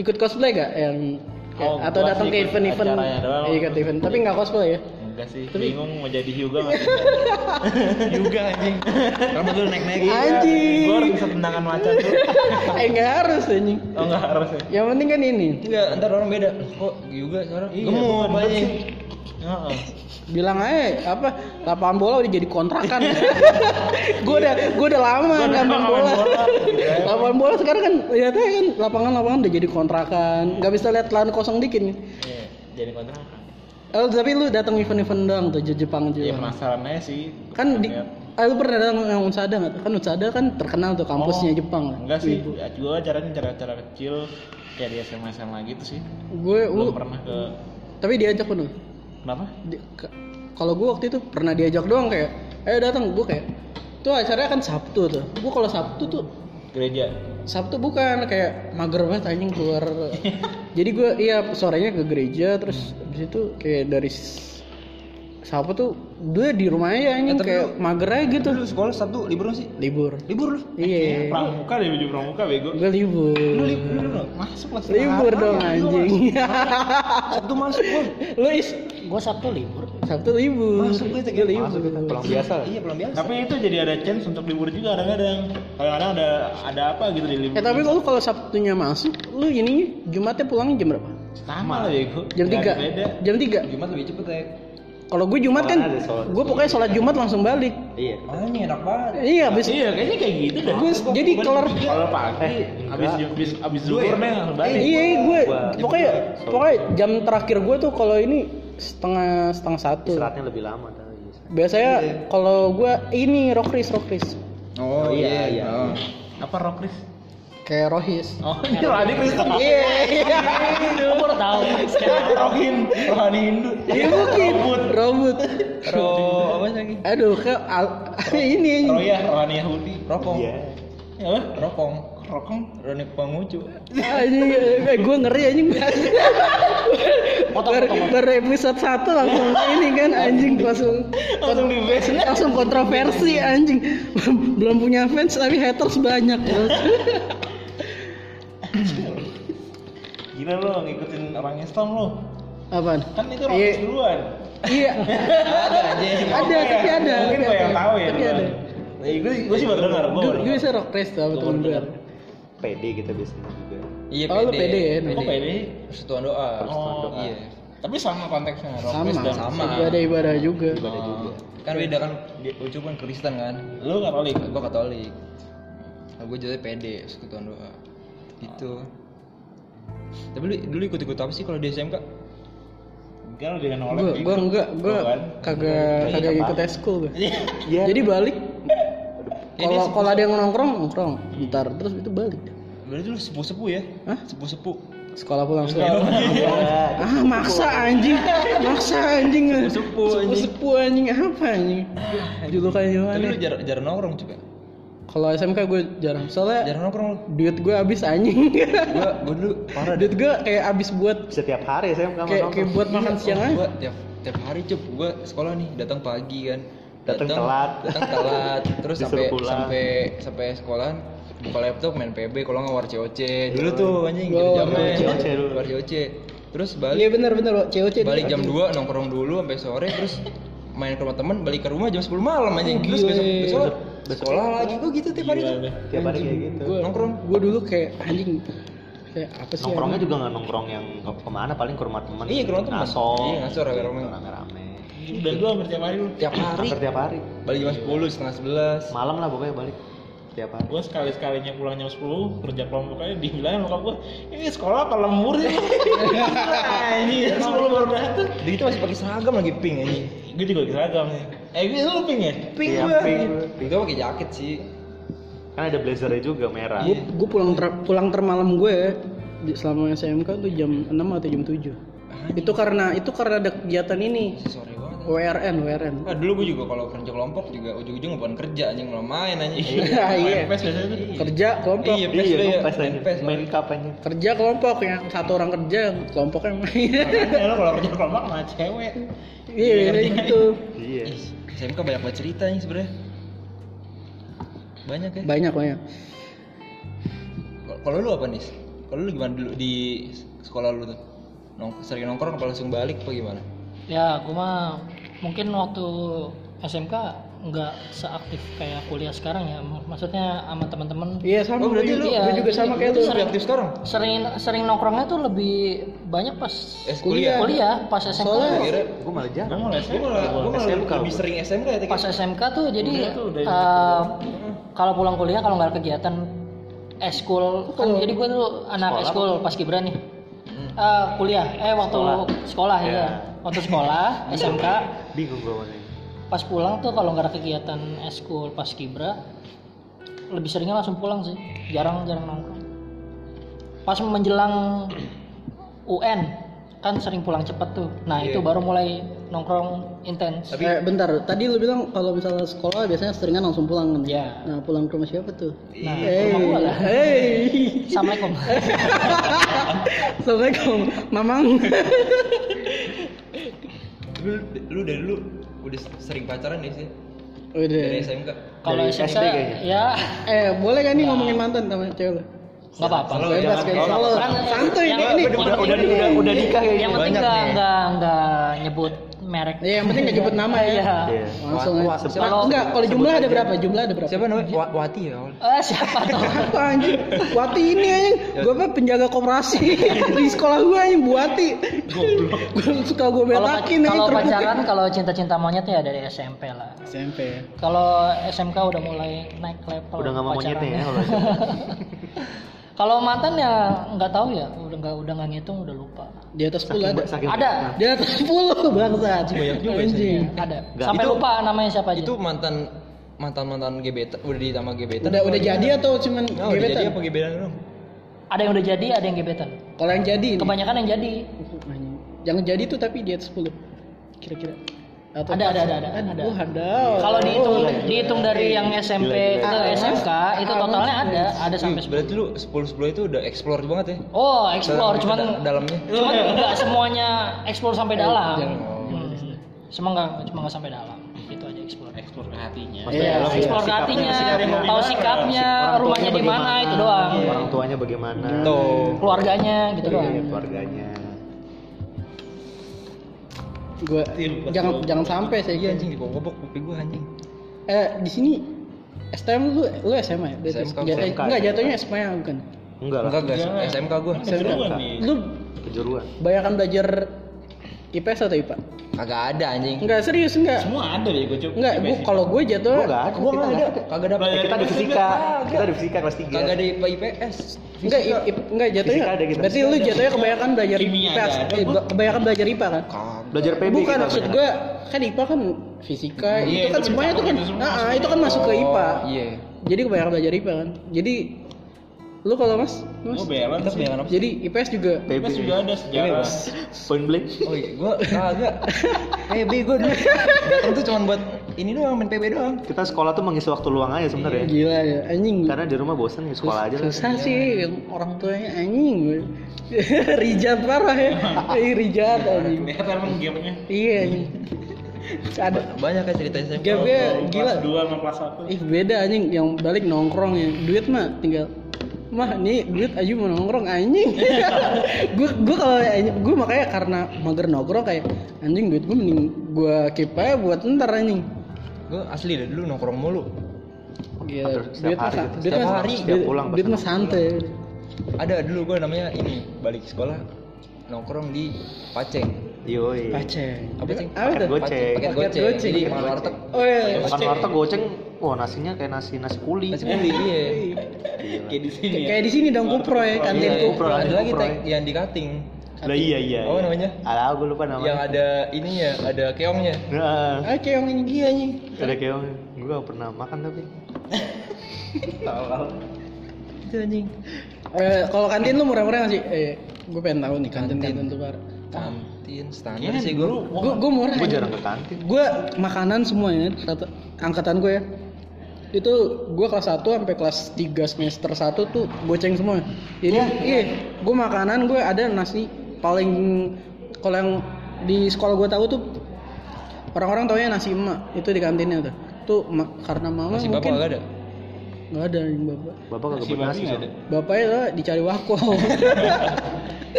ikut cosplay gak yang
Oh,
atau
gua
datang ke
sih ikut
event-event
acaranya doang.
Iya, ikut event tapi nggak cosplay ya
enggak sih
Tapi-
bingung mau jadi Hyuga nggak sih?
juga anjing. Rambut lu naik-naik.
Gue harus
anjing
bisa tendangan macan tuh.
eh nggak harus anjing
Oh enggak harus ya.
yang penting kan ini
Enggak, Iya, ntar orang beda. Kok juga sekarang?
bukan,
Gemuk
bukan
anjing.
sih. Heeh.
bilang aja apa lapangan bola udah jadi kontrakan gue udah gue udah lama
Gua udah
lapangan
lama
bola
main bola, gitu ya.
lapangan bola sekarang kan lihatnya kan lapangan lapangan udah jadi kontrakan nggak bisa lihat lahan kosong dikit nih
Iya, jadi kontrakan.
Eh, tapi lu datang event-event doang tuh Je- Jepang
Ya
juga
penasaran aja sih.
kan di
Lihat.
ah, lu pernah datang yang Unsada nggak tuh? kan Unsada kan terkenal tuh kampusnya
Oh,
Jepang lah
Enggak sih, gue caranya cara-cara kecil kayak di SMA SMA gitu sih.
gue lu
Belum pernah ke
tapi diajak pun lu?
kenapa?
Di- ke- kalau gue waktu itu pernah diajak doang kayak ayo datang gue kayak tuh acaranya kan Sabtu tuh gue kalau Sabtu tuh
Gereja.
Sabtu bukan kayak mager banget anjing keluar. Jadi gue iya sorenya ke gereja terus habis itu kayak dari s- Sabtu tuh gue di rumah aja anjing
tapi
kayak mager aja gitu.
Lu sekolah Sabtu libur nggak sih?
Libur.
Libur lu.
Iya.
Pramuka deh baju pramuka bego.
Gue libur.
Lu libur lu nggak?
Masuk lah.
Libur dong anjing.
Sabtu masuk gua.
Lu is
Gue Sabtu libur.
Sabtu libur.
Masuk gue
Gue libur.
Pulang biasa lah.
Iya, belum biasa.
Tapi itu jadi ada chance untuk libur juga kadang-kadang. Kadang-kadang ada ada apa gitu di libur.
Eh tapi lu kalau Sabtunya masuk, lu ini Jumatnya pulangnya jam berapa?
sama lah bego.
Jam
Nggak ada
3.
Beda.
Jam 3.
Jumat lebih cepet ya.
Kalau gue Jumat kan,
Soalnya ada sholat.
gue pokoknya sholat Jumat langsung balik.
Iya.
Anjing enak banget.
Iya, habis
Iya, kayaknya kayak gitu dah.
gue jadi kelar
Kalau pagi habis habis habis
Dua ya?
zuhur nih langsung balik.
iya gue
Gua-
pokoknya pokoknya jam terakhir gue tuh kalau ini setengah setengah satu
Istirahatnya lebih lama iya. tapi.
biasanya kalau gue ini rokris rokris
Oh,
iya, iya.
Oh.
Apa Rokris?
kayak Rohis
Oh, ini rohani Kristen.
Iya,
Gue baru tahu.
Rohin, rohani Hindu.
iya mungkin robot
Ro apa sih lagi?
aduh ke al- ini
Royah, ya, rohani Yahudi.
Rokong.
Iya. Apa?
Rokong.
Rokong.
Roni Pangucu.
anjing eh, gue ngeri anjing
Potong,
baru,
potong.
baru episode satu langsung ini kan anjing langsung
Langsung di base.
langsung kontroversi anjing belum punya fans tapi haters banyak
Gila lo ngikutin orang Islam lo.
apaan
Kan itu
Iya.
rohis duluan.
iya ada tapi ada
Mungkin gue yang tahu ya.
tapi ada
Gue gue sih baru dengar.
gue
Gue baru
gue
dengar.
bisa rock race tuh sama
Gua
temen
baru
gue
dengar.
PD kita biasanya juga.
Iya
Oh, lu pede ya,
Kok kayak ini?
Persatuan doa.
Persatuan doa.
Iya.
Tapi sama konteksnya.
sama
Rohis dan
sama.
ibadah ibadah juga
Ibadah juga.
Kan beda kan dia Ucu kan Kristen kan.
Lu Katolik.
Gua Katolik. Nah, gua jadi pede persatuan doa. Gitu. Tapi lu dulu ikut-ikut apa sih kalau di SMK?
Enggak lu jangan oleh.
gue gue enggak gue
Tuh kan.
kagak kagak ikut eskul gue
Iya.
jadi balik
Ya, dia
kalau kalau ada yang nongkrong nongkrong bentar terus itu balik
Berarti lu sepuh-sepuh ya?
Hah?
Sepuh-sepuh.
sekolah pulang sekolah ah maksa anjing maksa anjing
Sepuh-sepuh, anjing.
sepuh anjing apa anjing
Iya,
julukannya
Tapi
gimana
lu jarang jarang nongkrong juga.
kalau SMK gue jarang soalnya
Jarang nongkrong lu.
duit gue habis anjing
Gua gua dulu parah deh.
duit gue kayak habis buat
Bisa tiap hari saya kamu
kayak kayak
Iya,
buat makan siang aja
Gua Iya, tiap tiap hari cup gua sekolah nih datang pagi kan.
Datang telat.
Datang telat. Terus
Disuruh
sampai
pulang.
sampai sampai sekolah buka laptop main PB kalau nggak war COC
Iya.
dulu tuh anjing gitu
Oh,
jaman
war COC dulu.
war COC terus
iya
balik
benar benar Pak. COC
balik jam 2 nongkrong dulu sampai sore terus main ke rumah teman balik ke rumah jam 10 malam anjing terus besok besok sekolah lagi gua gitu tiap hari tuh
Tiap hari kayak gitu.
gue
nongkrong.
gue dulu kayak anjing kayak apa sih
Nongkrongnya
anjing?
juga nggak nongkrong yang ke- kemana paling ke rumah temen.
Iya, ke rumah temen.
Ngasor.
Iya, ngasor, rame-rame.
Rame-rame.
Dan lu hampir tiap hari lu.
tiap hari
Hampir tiap hari.
balik jam 10 setengah 11
Malam lah pokoknya balik. Tiap hari.
gue sekali sekalinya pulang jam 10 kerja kelompok aja dibilangin bokap gue ini sekolah apa lembur sih Nah, ini sepuluh baru datang
jadi kita gitu masih pakai seragam lagi pink anjing
gue juga lagi seragam sih eh gue lu pink ya
pink
Iya,
gua
pink.
pink gua pakai jaket sih
Kan ada blazernya juga merah.
Iya.
gue gue pulang ter, pulang termalam gue di- selama SMK tuh jam 6 atau jam 7 itu karena itu karena ada kegiatan ini
sore banget
WRN WRN
Nah, dulu gue juga kalau kerja kelompok juga ujung-ujung bukan kerja anjing malah main anjing.
Iya, iya.
pes biasanya tuh
kerja kelompok
Iya, pes
Iya,
lu
lu
ya.
pes aja.
Pes.
Main cup aja.
kerja kelompok yang satu orang kerja kelompoknya main
Makanya lu kalau kerja kelompok sama cewek
iya iya, gitu
Iya.
Ih, SMK banyak banget cerita nih sebenarnya. Banyak ya.
banyak banyak
Kalau lu apa nih? Kalau lu gimana dulu di sekolah lu tuh? Nong sering nongkrong apa langsung balik apa gimana?
Ya, gue mah mungkin waktu SMK nggak seaktif kayak kuliah sekarang ya. Maksudnya sama teman-teman
iya sama
Oh, berarti
gue juga,
lu-
gue juga sama kayak lu
Lebih aktif sekarang?
sering sering nongkrongnya tuh lebih banyak pas
Eh, kuliah.
kuliah pas SMK. tuh-
Kira
Gue
Iya.
malah
gue
jarang.
mulai
gue malah gue malah
SMK,
lebih
gua.
sering SMK ya.
pas
Tiki?
SMK tuh jadi
Kuliah tuh udah
eh,
ikut
kalau pulang kuliah kalau nggak ada kegiatan eskul kan jadi gue tuh
Sekolah
anak eskul pas kibra nih Eh, kuliah eh waktu
Sekolah.
sekolah, ya.
Iya.
waktu sekolah SMK
Bingung gue malah.
pas pulang tuh kalau nggak ada kegiatan eskul pas kibra lebih seringnya langsung pulang sih jarang jarang nongkrong pas menjelang UN kan sering pulang cepet tuh nah
Iya.
itu baru mulai nongkrong intens
Tapi-
eh, bentar tadi lu bilang kalau misalnya sekolah biasanya seringan langsung pulang kan
Iya.
nah pulang ke rumah siapa tuh
nah
Hey.
rumah gua lah
Hey.
Assalamualaikum.
Assalamualaikum, Mamang.
Lu, lu dari dulu udah sering pacaran nih sih dari
Udah.
SMK.
Kalau
Dari
SMK
SD kayaknya.
ya
Eh, boleh kan nih ngomongin mantan sama cewek?
nggak apa-apa.
Selalu
Bebas
jangan-
kayak
kalau-
selalu.
Kan,
Santuy
yang-
nih nih.
yang penting-
Udah udah udah nikah ya.
Yang penting
Banyak
nggak
nih.
nggak nggak nyebut merek.
Iya, yang penting nggak nyebut nama ya.
Iya.
Iya.
Langsung
Wah,
aja.
sebut-
Nah, enggak, kalau jumlah ada
aja.
berapa? Jumlah ada berapa?
Siapa namanya? Wa- Wati ya. awal.
Eh, siapa tuh?
Apa anjing? Wati ini anjing. Gue apa penjaga koperasi di sekolah gue anjing Bu Wati. Gue suka gue
Kalau
betakin
kalau
terus.
pacaran kalau cinta-cinta monyet ya dari SMP lah.
SMP ya.
Kalau SMK udah mulai naik level.
Udah nggak mau monyetnya ya
pacarannya.
kalau
Kalau mantan ya nggak tahu ya, udah nggak udah nggak ngitung, udah lupa.
Di atas 10 ada.
saking
Ada, Iya,
Di atas 10 bangsat.
Banyak juga
Anjing.
ada.
Nggak.
Sampai
Itu-
lupa namanya siapa aja.
Itu mantan mantan mantan gebetan udah ditambah gebetan
Udah udah jadi atau cuman
Nggak, Oh, udah jadi
gebetan?
apa gebetan dong
Ada yang udah jadi, ada yang gebetan.
Kalau yang jadi ini.
Kebanyakan yang jadi.
Anjing. Jangan jadi tuh tapi di atas 10. Kira-kira. Atau kan
Ada, ada, ada, ada,
Aduh,
ada.
ada.
Kalau dihitung
Oh,
dihitung dari yang SMP ke
gila. Hmm,
SMK itu
Ah,
totalnya ada ada sampai
Wih, berarti lu 10 10 itu udah explore banget ya
Oh,
Dalam-
explore cuman
da- dalamnya
Oh,
cuman
iya.
nggak semuanya explore
Eh,
sampai dalam.
jangan.
Hmm. Cuma nggak cuma nggak sampai dalam. Itu aja explore.
Eksplor ke hatinya.
Eh, Iya,
Explore explore ke hatinya, tahu sikapnya, rumahnya di mana itu
Hmm,
doang.
Iya.
iya.
Orang tuanya bagaimana?
Iya.
Iya,
tuh
Keluarganya gitu doang.
Keluarganya.
Gua jangan jangan sampai saya
iya anjing dikobok kopi gua anjing
Eh, di sini STM lu lu SMA ya? Berarti?
SMK.
Ja- eh, enggak jatuhnya SMA bukan.
Enggak lah.
enggak guys SMK gua
Kejuruan nih.
iya. Lu
Kejuruan.
bayangkan belajar IPS atau IPA?
kagak ada anjing
Enggak serius enggak.
Semua ada deh gue coba.
Enggak, gua kalau gue jatuh
Gua enggak ada. Gua enggak ada.
kagak ada
Iya.
Eh, Kita di fisika. Kita di fisika kelas 3.
kagak ada IPA IPS
Enggak, iya. i, i- enggak jatuhnya.
Fisika ada kita.
Berarti lu jatuhnya kebanyakan belajar
Kimia
IPS,
ada,
eh,
Bu.
be- kebanyakan belajar IPA kan?
kagak
Belajar PB
Bukan
kita
maksud
banyak.
gue kan IPA kan fisika,
Iya,
itu kan
itu
semuanya itu kan,
itu semua
nah,
masuk
itu kan masuk ke IPA.
iya
Jadi kebanyakan belajar IPA kan. Jadi lu kalau mas, mas
Gue balance.
kita
sih.
kebanyakan apa
jadi IPS juga
PB.
Mas juga ada sejarah.
Point blank.
oh iya gua kagak PB gua dulu datang tuh cuman buat ini doang main PB doang
Kita sekolah tuh mengisi waktu luang aja
Iya.
sebenarnya.
gila ya, anjing.
Karena di rumah bosan ya sekolah aja lah.
Susah sih yang orang tuanya anjing gue. Rijat parah ya. Ih, Rijat anjing.
Kelihatan emang gamenya.
Iya anjing. Ada
banyak ya cerita SMK
Gapnya gila.
Kelas 2 sama kelas 1.
Ih beda anjing yang balik nongkrong ya. Duit mah tinggal mah nih duit aja mau nongkrong anjing gue gue kalau gue makanya karena mager nongkrong kayak anjing duit gue mending gue keep aja buat ntar anjing
gua asli dari dulu nongkrong mulu
Gila,
Hampir setiap
Iya, duit
Setiap
mah sa- duit
hari gitu.
mah
hari,
setiap
duit,
pulang
duit
bahkan.
mah santai
ada dulu gua namanya ini balik sekolah nongkrong di Paceng
Yoi.
Eh, paceng
Apa, Ceng?
apa tuh
Goceng.
Paceng, paket
Paket
goceng
goceng.
jadi makan warteg
oh iya
Makan warteg goceng, wah nasinya kayak nasi nasi kuli.
nasi kuli iya
Kayak di
Kayak-
sini. ya.
Iya. kayak di sini dong kupro ya kantin
Iya,
Kantin
kupro.
Kupro,
ada
kantin
lagi
Kupro.
tek yang di cutting
Lah iya iya.
Apa namanya? Iya,
Alah, gue lupa
yang
namanya.
ada ininya ada keongnya
Nah,
Ah keong ini dia anjing.
ada keong. Gue gak pernah makan tapi.
Gitu
itu anjing
Eh kalau kantin lu murah-murah nggak sih? Eh gue pengen tahu nih kantin kantin tuh bar.
kantin standar
Iya,
Kayaknya
sih
dulu
Iya, gua
Gue gue murah.
Gue jarang ke kantin.
Gue makanan semua ya rata, angkatan gue ya. Itu gue kelas 1 sampai kelas 3 semester 1 tuh goceng semua. Jadi iya, gue makanan gue ada nasi paling kalau yang di sekolah gue tahu tuh orang-orang taunya nasi emak itu di kantinnya tuh. Tuh ma- karena mama
masih bapak
mungkin
gak ada
nggak ada yang bapak.
Bapak kagak
Si
buat
babi
nasi.
nggak
Bang.
ada.
Bapaknya tuh dicari wako.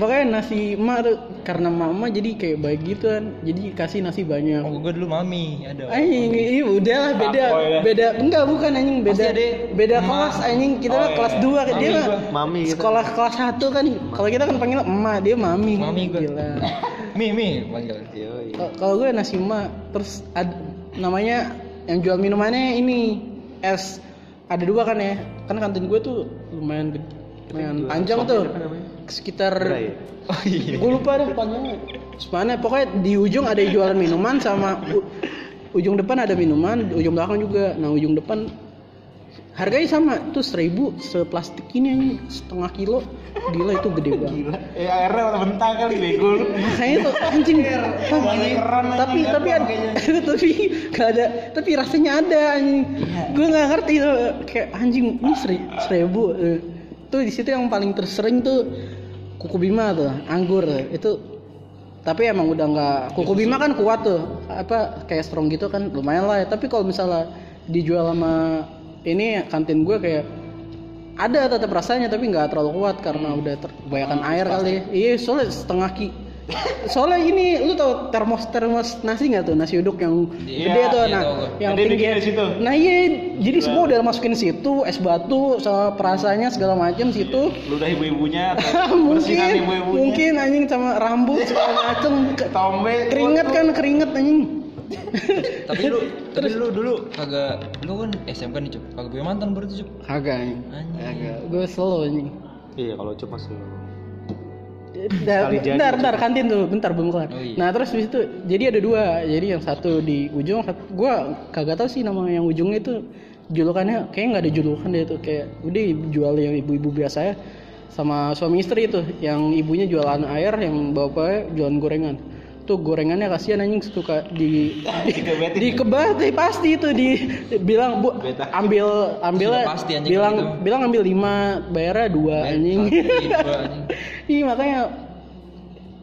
Makanya nasi emak tuh karena mama jadi kayak baik gitu kan. Jadi kasih nasi banyak.
oh gua dulu mami ada
Anjing, iya udah lah beda
Fuckboy lah.
beda enggak bukan anjing beda
Pasti ada
beda
emak.
kelas anjing kita
Oh,
mah
iya.
kelas 2 kan dia
Mami
mah
gua.
Mami gitu.
sekolah kelas 1 kan kalau kita kan panggil emak dia mami
Mami gua.
gila
mi mi panggil
Yoi.
Kalau- kalau gue nasi emak terus ad, namanya yang jual minumannya ini es ada dua kan ya kan kantin gue tuh lumayan gede, lumayan
Jual
panjang
kopi
tuh
apa namanya?
sekitar
Gerai ya?
oh iya
gue lupa deh panjangnya Sebenarnya pokoknya di ujung ada yang jualan minuman sama u- ujung depan ada minuman, ujung belakang juga. Nah ujung depan harganya sama tuh seribu seplastik ini yang setengah kilo. Gila itu gede banget.
Gila. Eh airnya warna bentang kali bego lu.
Makanya tuh anjing.
Warna keran aja,
tapi
kan,
tapi ada, tapi gak ada tapi rasanya ada anjing.
Iya.
Gue nggak ngerti tuh kayak anjing ini seri, seribu. eh. Tuh di situ yang paling tersering tuh kuku bima tuh anggur itu tapi emang udah nggak kuku bima kan kuat tuh apa kayak strong gitu kan lumayan lah ya. tapi kalau misalnya dijual sama ini kantin gue kayak ada tetap rasanya tapi nggak terlalu kuat karena udah ter- kebanyakan air kali ya. iya soalnya setengah ki soalnya ini lu tau termos termos nasi nggak tuh nasi uduk yang
Iya,
gede tuh
iya,
nah
tau gue.
yang
Gede
tinggi
bikin di situ.
nah iya jadi semua udah masukin situ es batu sama perasanya segala macam situ
Lu udah ibu-ibunya atau
mungkin
bersihan ibu-ibunya.
mungkin anjing sama rambut segala macem Ke-
Tombe
keringet kan keringet anjing
tapi lu tapi lu dulu kagak lu kan SMK nih cup kagak punya mantan berarti cup
kagak anjing
anjing
gue slow anjing
Iya, kalau cuma selalu.
Bentar,
Sekali jadi.
bentar, bentar, kantin tuh, bentar belum kelar.
Oh, iya.
Nah terus habis itu, jadi ada dua, jadi yang satu di ujung, sat- gua kagak tahu sih nama yang ujungnya itu julukannya, kayaknya nggak ada julukan deh itu kayak udah jual yang ibu-ibu biasa ya, sama suami istri itu, yang ibunya jualan air, yang bapaknya jualan gorengan. Tuh gorengannya kasihan anjing suka di di,
Dikebetin.
di kebatin, pasti itu di bilang bu
Beta.
ambil ambilnya
Sudah pasti anjing
bilang
gitu.
bilang ambil lima bayarnya dua anjing
Satu, anjing.
Iya makanya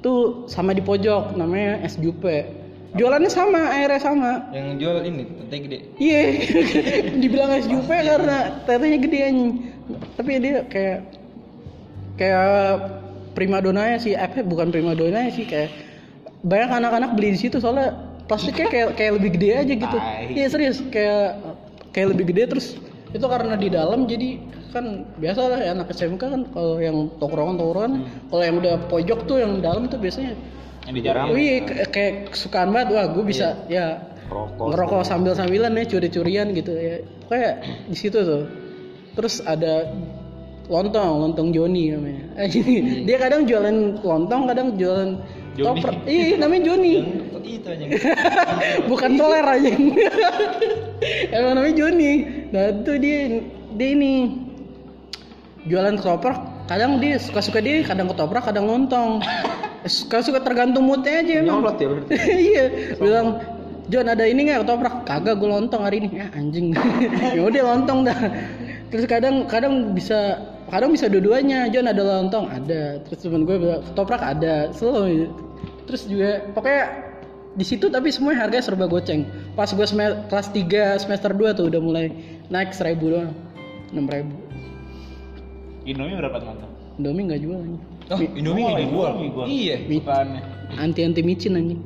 tuh sama di pojok namanya es jupe. Jualannya sama, airnya sama.
Yang jual ini tete gede.
Iya, dibilang es jupe karena tetenya gede anjing. Tapi dia kayak kayak primadonanya sih, eh bukan primadonanya sih kayak banyak anak-anak beli di situ soalnya plastiknya kayak kayak lebih gede aja gitu.
Tai.
Iya serius kayak kayak lebih gede terus itu karena di dalam jadi kan biasa lah ya, anak SMK kan kalau yang tokrongan tokrongan kalau yang udah pojok tuh yang dalam tuh biasanya
Yang dijarang.
oh iya kayak- kayak kesukaan banget wah gue bisa ya
Rokok.
ngerokok sambil sambilan ya curi-curian gitu ya pokoknya di situ tuh terus ada lontong lontong Joni namanya dia kadang jualan lontong kadang jualan
Joni.
topper iya namanya Joni
Yang Itu anjing.
bukan toler aja emang namanya Joni nah itu dia dia ini jualan ketoprak kadang dia suka-suka dia kadang ketoprak kadang lontong Eh, suka-suka tergantung moodnya aja emang
Nyolot ya berarti.
iya bilang John ada ini nggak ketoprak kagak gue lontong hari ini ya anjing ya udah lontong dah terus kadang kadang bisa kadang bisa dua-duanya John ada lontong ada terus temen gue bilang ketoprak ada selalu terus juga pokoknya di situ tapi semua harganya serba goceng pas gue sem- kelas 3 semester 2 tuh udah mulai naik seribu doang enam ribu
Indomie berapa teman-teman?
Indomie nggak jual anjing
Oh, Indomie
Oh,
nggak dijual.
Indomie gua.
Iya.
Bukannya.
anti anti micin anjing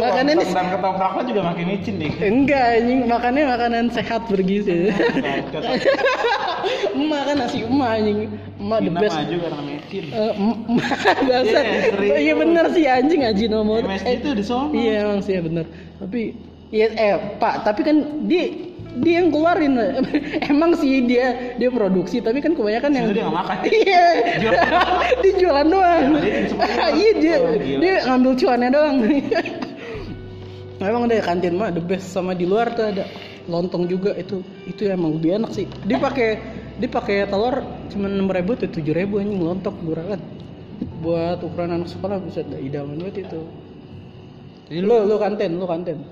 makanya ini
Tentang ketopraknya juga makin micin nih.
enggak anjing makannya makanan sehat bergizi emak kan nasi emak anjing emak Oh, the
Kita
best
maju karena micin.
Eh, em- emak dasar
Iya, serius.
iya bener sih anjing Ajinomoto
MSG
Eh,
itu di sono.
iya emang sih ya bener tapi iya eh pak tapi kan dia dia yang keluarin emang sih dia dia produksi tapi kan kebanyakan yang
Sebenarnya dia nggak makan.
iya dia jualan doang
Dia bikin semua.
iya dia
Oh, gila.
dia ngambil cuannya doang emang deh kantin mah the best sama di luar tuh ada lontong juga itu itu emang lebih enak sih dia pakai dia pakai telur cuma enam ribu tuh tujuh ribu anjing lontong murah kan buat ukuran anak sekolah bisa idaman banget itu
Jadi lu
lu lu kantin lu kantin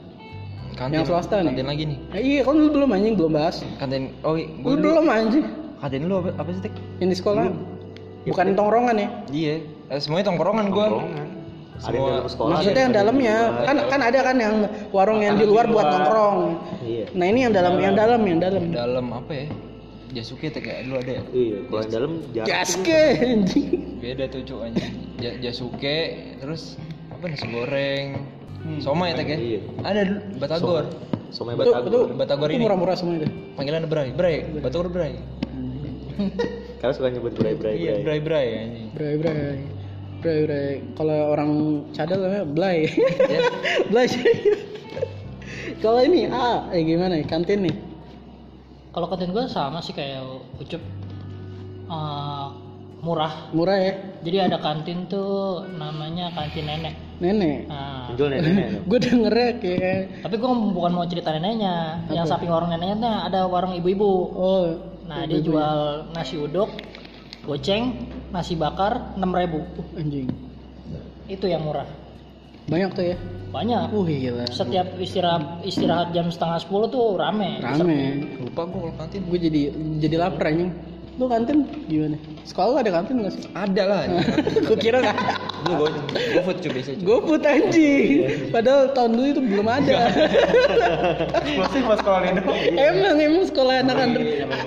kantin.
yang swasta nih.
Kantin lagi nih.
Nah, iya kan lu belum anjing belum bahas
Kantin. Oh, iya,
lu
gua dulu.
belum anjing
Kantin lu apa, apa sih, Tek?
yang di sekolah bukan tongkrongan ya
Iya. Eh, Semuanya tongkrongan gua.
Tongkrongan. Ada yang
Semua-
dalam sekolah. ada
maksudnya yang
di
dalamnya
luar.
kan kan ada kan yang warung yang di
Makanan
luar
di
buat
luar.
nongkrong
Iya.
nah ini yang dalam yang dalam yang dalam
Dalam apa ya? Jasuke Tek ya, lu ada ya?
Iya, kalau yang dalam jarang.
Iya. gaske anjing
Beda tuh cuk anjing. Ja- Jasuke terus apa nasi goreng. Somai Tek ya?
Iya.
Ada dulu Batagor.
Somai
itu itu
Batagor.
Batagor
itu
ini.
murah-murah semua itu
Panggilan Bray, Bray, Batagor Bray.
Karena suka nyebut berai-berai.
Iya, Bray Bray anjing.
bray bray bray bray kalau orang cadel namanya blay
Ya.
blay kalau ini a eh gimana ya kantin nih
Kalau konten gue sama sih kayak ucup eh, murah.
murah ya
Jadi ada kantin tuh namanya kantin nenek.
nenek
Nah,
Jual nenek-nenek.
gue dengernya kayak eh,
tapi gue bukan mau cerita neneknya. Yang
Apa?
samping warung neneknya tuh ada warung ibu-ibu.
oh
Nah dia jual nasi uduk, goceng, nasi bakar 6.000
anjing
Itu yang murah.
banyak tuh ya
Banyak.
uh gila
Setiap istirahat istirahat jam setengah 10 tuh rame.
rame
Lupa gua kalau kantin.
gue jadi jadi lapar anjing lu kantin gimana sekolah lu ada kantin gak sih
Ada lah anjing.
gue kira gak ada
Lu go GoFood cuy biasanya cuy.
gue put anjing padahal tahun dulu itu belum ada
Masih pas sekolah Lido.
emang emang sekolah anak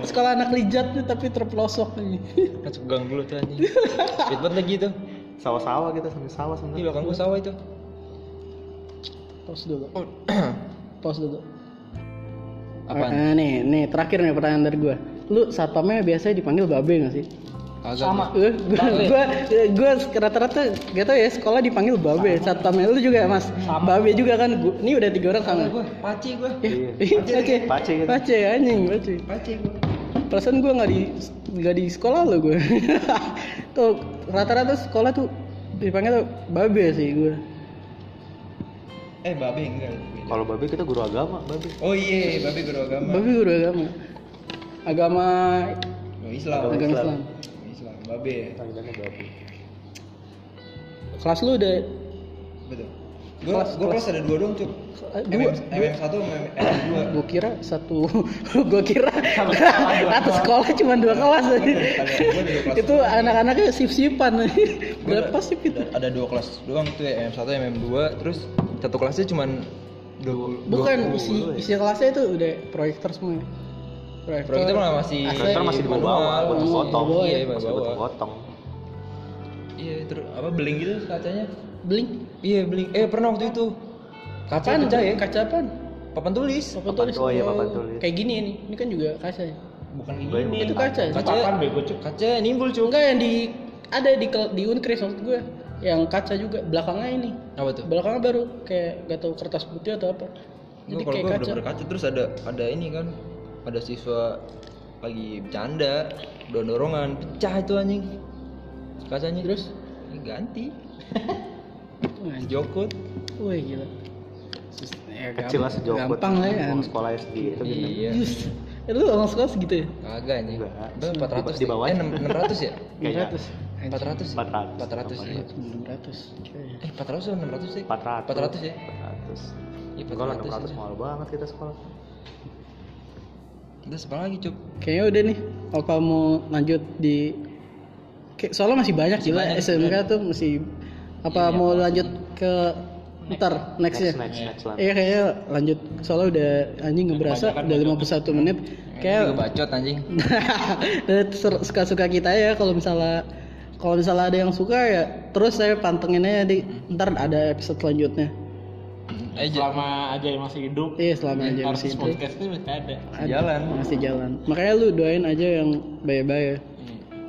sekolah anak lijat tuh tapi terpelosok nih
Masuk gang dulu tuh anjing. Fit banget lagi tuh.
Sawah-sawah kita sambil sawah
Ini
sebenarnya.
belakang gua sawah itu.
pause dulu pause dulu
Apaan?
Eh, nih nih terakhir nih pertanyaan dari gue lu satpamnya biasanya dipanggil babe gak sih
Kagak.
Sama.
gue gue gue rata-rata gak tau ya sekolah dipanggil babe satpamnya lu juga mas babe juga kan Gua- ini udah tiga orang sama
Gua paci gua.
Iya.
Pace,
Pace gitu.
Pace, anjing, pace.
Paci gua.
Perasaan gue nggak di nggak di sekolah lo gue. Tuh rata-rata sekolah tuh dipanggil tuh babe sih gue.
Eh babe enggak. beda.
Kalau babe kita guru agama, babe.
Oh iya, babe guru agama.
Babe guru agama. Agama
Oh, Islam.
agama
Agama
Islam.
Islam. Babe ya.
Panggilannya babe.
Kelas lu udah
Betul. Gua gua kelas ada dua doang, Cuk.
Eh, dua?
MM MM1 sama MM2.
gue kira satu gue kira satu sekolah cuma dua kelas aja.
Gua dua kelas.
itu anak-anaknya sip sipan berapa sip itu
Ada- ada dua kelas doang tuh ya MM1 MM2 terus satu kelasnya cuman 20
bukan isi isi kelasnya itu udah proyektor semua ya? proyektor,
Proyektor malah masih
AC.
Proyektor masih di bawah-bawah,
manual.
buat potong.
Iya, buat
Masih buat
potong.
potong.
Iya, terus apa beling gitu kacanya?
bling
Iya, beling. Eh, pernah waktu itu. Kaca
kapan
pecah ya?
kaca apaan?
Papan tulis.
papan
Papan
tulis
tulis, oh iya,
Oh,
papan tulis.
kayak gini ini ini kan juga kaca ya?
Bukan
Ini
itu kaca ya?
Kaca
Papan bego, Cuk.
Kaca nimbul, Cuk.
enggak yang di ada di kel- di unkris waktu gue yang kaca juga belakangnya ini
Apa tuh?
belakangnya baru kayak gak tahu kertas putih atau apa
Gue
jadi
kalau
kayak
gue
kaca
bener-bener kaca terus ada ada ini kan ada siswa lagi bercanda dorongan pecah itu anjing kacanya terus ganti jokut
Wih gila. Sus- ya,
Kecil lah sejauh
Gampang lah ya.
Sekolah SD itu gitu.
iya
Yus. Eh, lu orang sekolah segitu ya?
kagak anjing
Enggak.
empat ratus
Di bawah.
eh enam ratus ya
Kayaknya
400.
empat ratus
Empat ratus.
empat ratus ya
600. Kayaknya.
eh empat ratus atau enam ratus sih
400.
empat ratus ya
400.
Iya,
Enggak lah
400
600
aja.
mahal banget kita sekolah.
udah sebelah lagi cuk
Kayaknya udah nih. Apa mau lanjut di Kayak soalnya masih banyak gila
banyak iya.
SMK tuh masih apa mau lanjut ke ntar next, ya?
Next next next lah.
Iya kayaknya lanjut soalnya udah anjing nggak berasa udah 51 menit
Iya, juga
kayak
bacot anjing
Dan ser- Eh, suka-suka kita ya kalau misalnya kalau misalnya ada yang suka ya terus saya pantengin aja di ntar ada episode selanjutnya
Hmm.
ayo Eh, Jok.
Selama aja yang masih hidup,
iya selama aja
harus
masih itu
podcast itu masih ada.
ada,
jalan.
masih jalan makanya lu doain aja yang bye-bye ya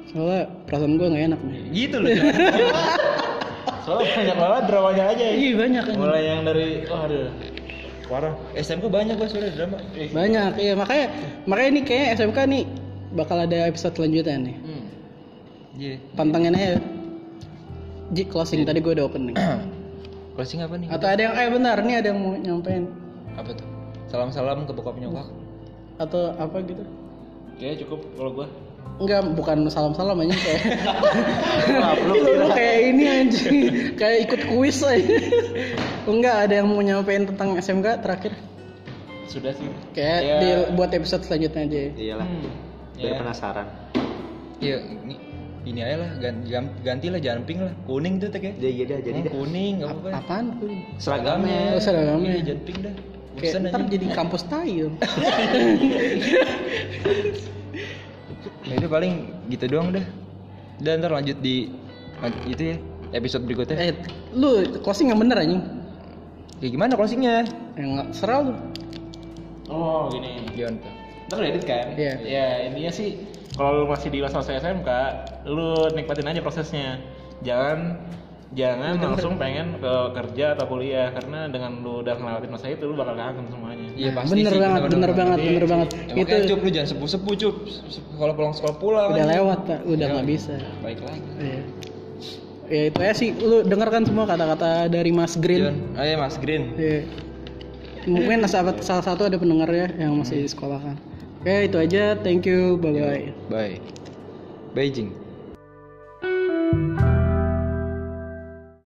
soalnya perasaan gua nggak enak nih
gitu loh Cuk.
Soalnya banyak banget dramanya aja. ya.
iya banyak kan
Mulai yang dari, oh aduh.
parah SMK banyak gua soalnya drama
banyak iya makanya makanya nih kayaknya SMK nih bakal ada episode selanjutnya nih
iya
pantengin aja Ji closing tadi gua udah opening
closing apa nih
atau ada yang eh benar nih ada yang mau nyampein
apa tuh salam salam ke bokap nyokap
atau apa gitu
Kayaknya cukup kalau gua.
Enggak, bukan salam-salam aja kayak. lu, lu kayak ini anjing, kayak ikut kuis aja. Enggak, ada yang mau nyampein tentang SMK terakhir.
Sudah sih.
Kayak
Ya.
di- buat episode selanjutnya aja.
Iyalah.
Hmm.
Biar
Ya.
penasaran.
iya ini ini aja lah ganti, ganti lah jangan pink lah kuning tuh tek ya
Jadi iya dah jadi
Hmm,
dah.
kuning nggak
ya?
apa-apa
Ap- apaan kuy?
Seragamnya.
Oh, seragamnya.
Iya, jangan pink dah bosan
Kayak
aja
ntar jadi kampus tayo.
ya udah paling gitu doang dah dan ntar lanjut di lan- itu ya episode berikutnya
eh, lu closing yang bener anjing.
ya gimana closingnya
Yang nggak serah lu.
Oh gini.
Jangan
Ntar lu edit kan?
Iya.
Ya intinya sih kalau lu masih di masa-masa SMK, lu nikmatin aja prosesnya. Jangan jangan langsung pengen ke kerja atau kuliah karena dengan lu udah ngelewatin masa itu lu bakal kangen semuanya.
Iya
Nah,
pasti
bener
sih,
banget, bener banget,
Iya,
bener
sih.
banget.
Ya,
Itu
makanya cup lu jangan sepuh-sepuh cup Sepuh- kalau pulang sekolah pulang
udah
aja.
lewat, Pak. Udah
Iya.
nggak bisa.
baik lagi
Iya. Ya itu ya sih, lu dengarkan semua kata-kata dari Mas Green.
Jon, ayo Mas Green.
Iya. Mungkin sahabat salah satu ada pendengar ya yang masih di sekolah kan. Oke, itu aja. Thank you. Bye bye.
Bye. Beijing.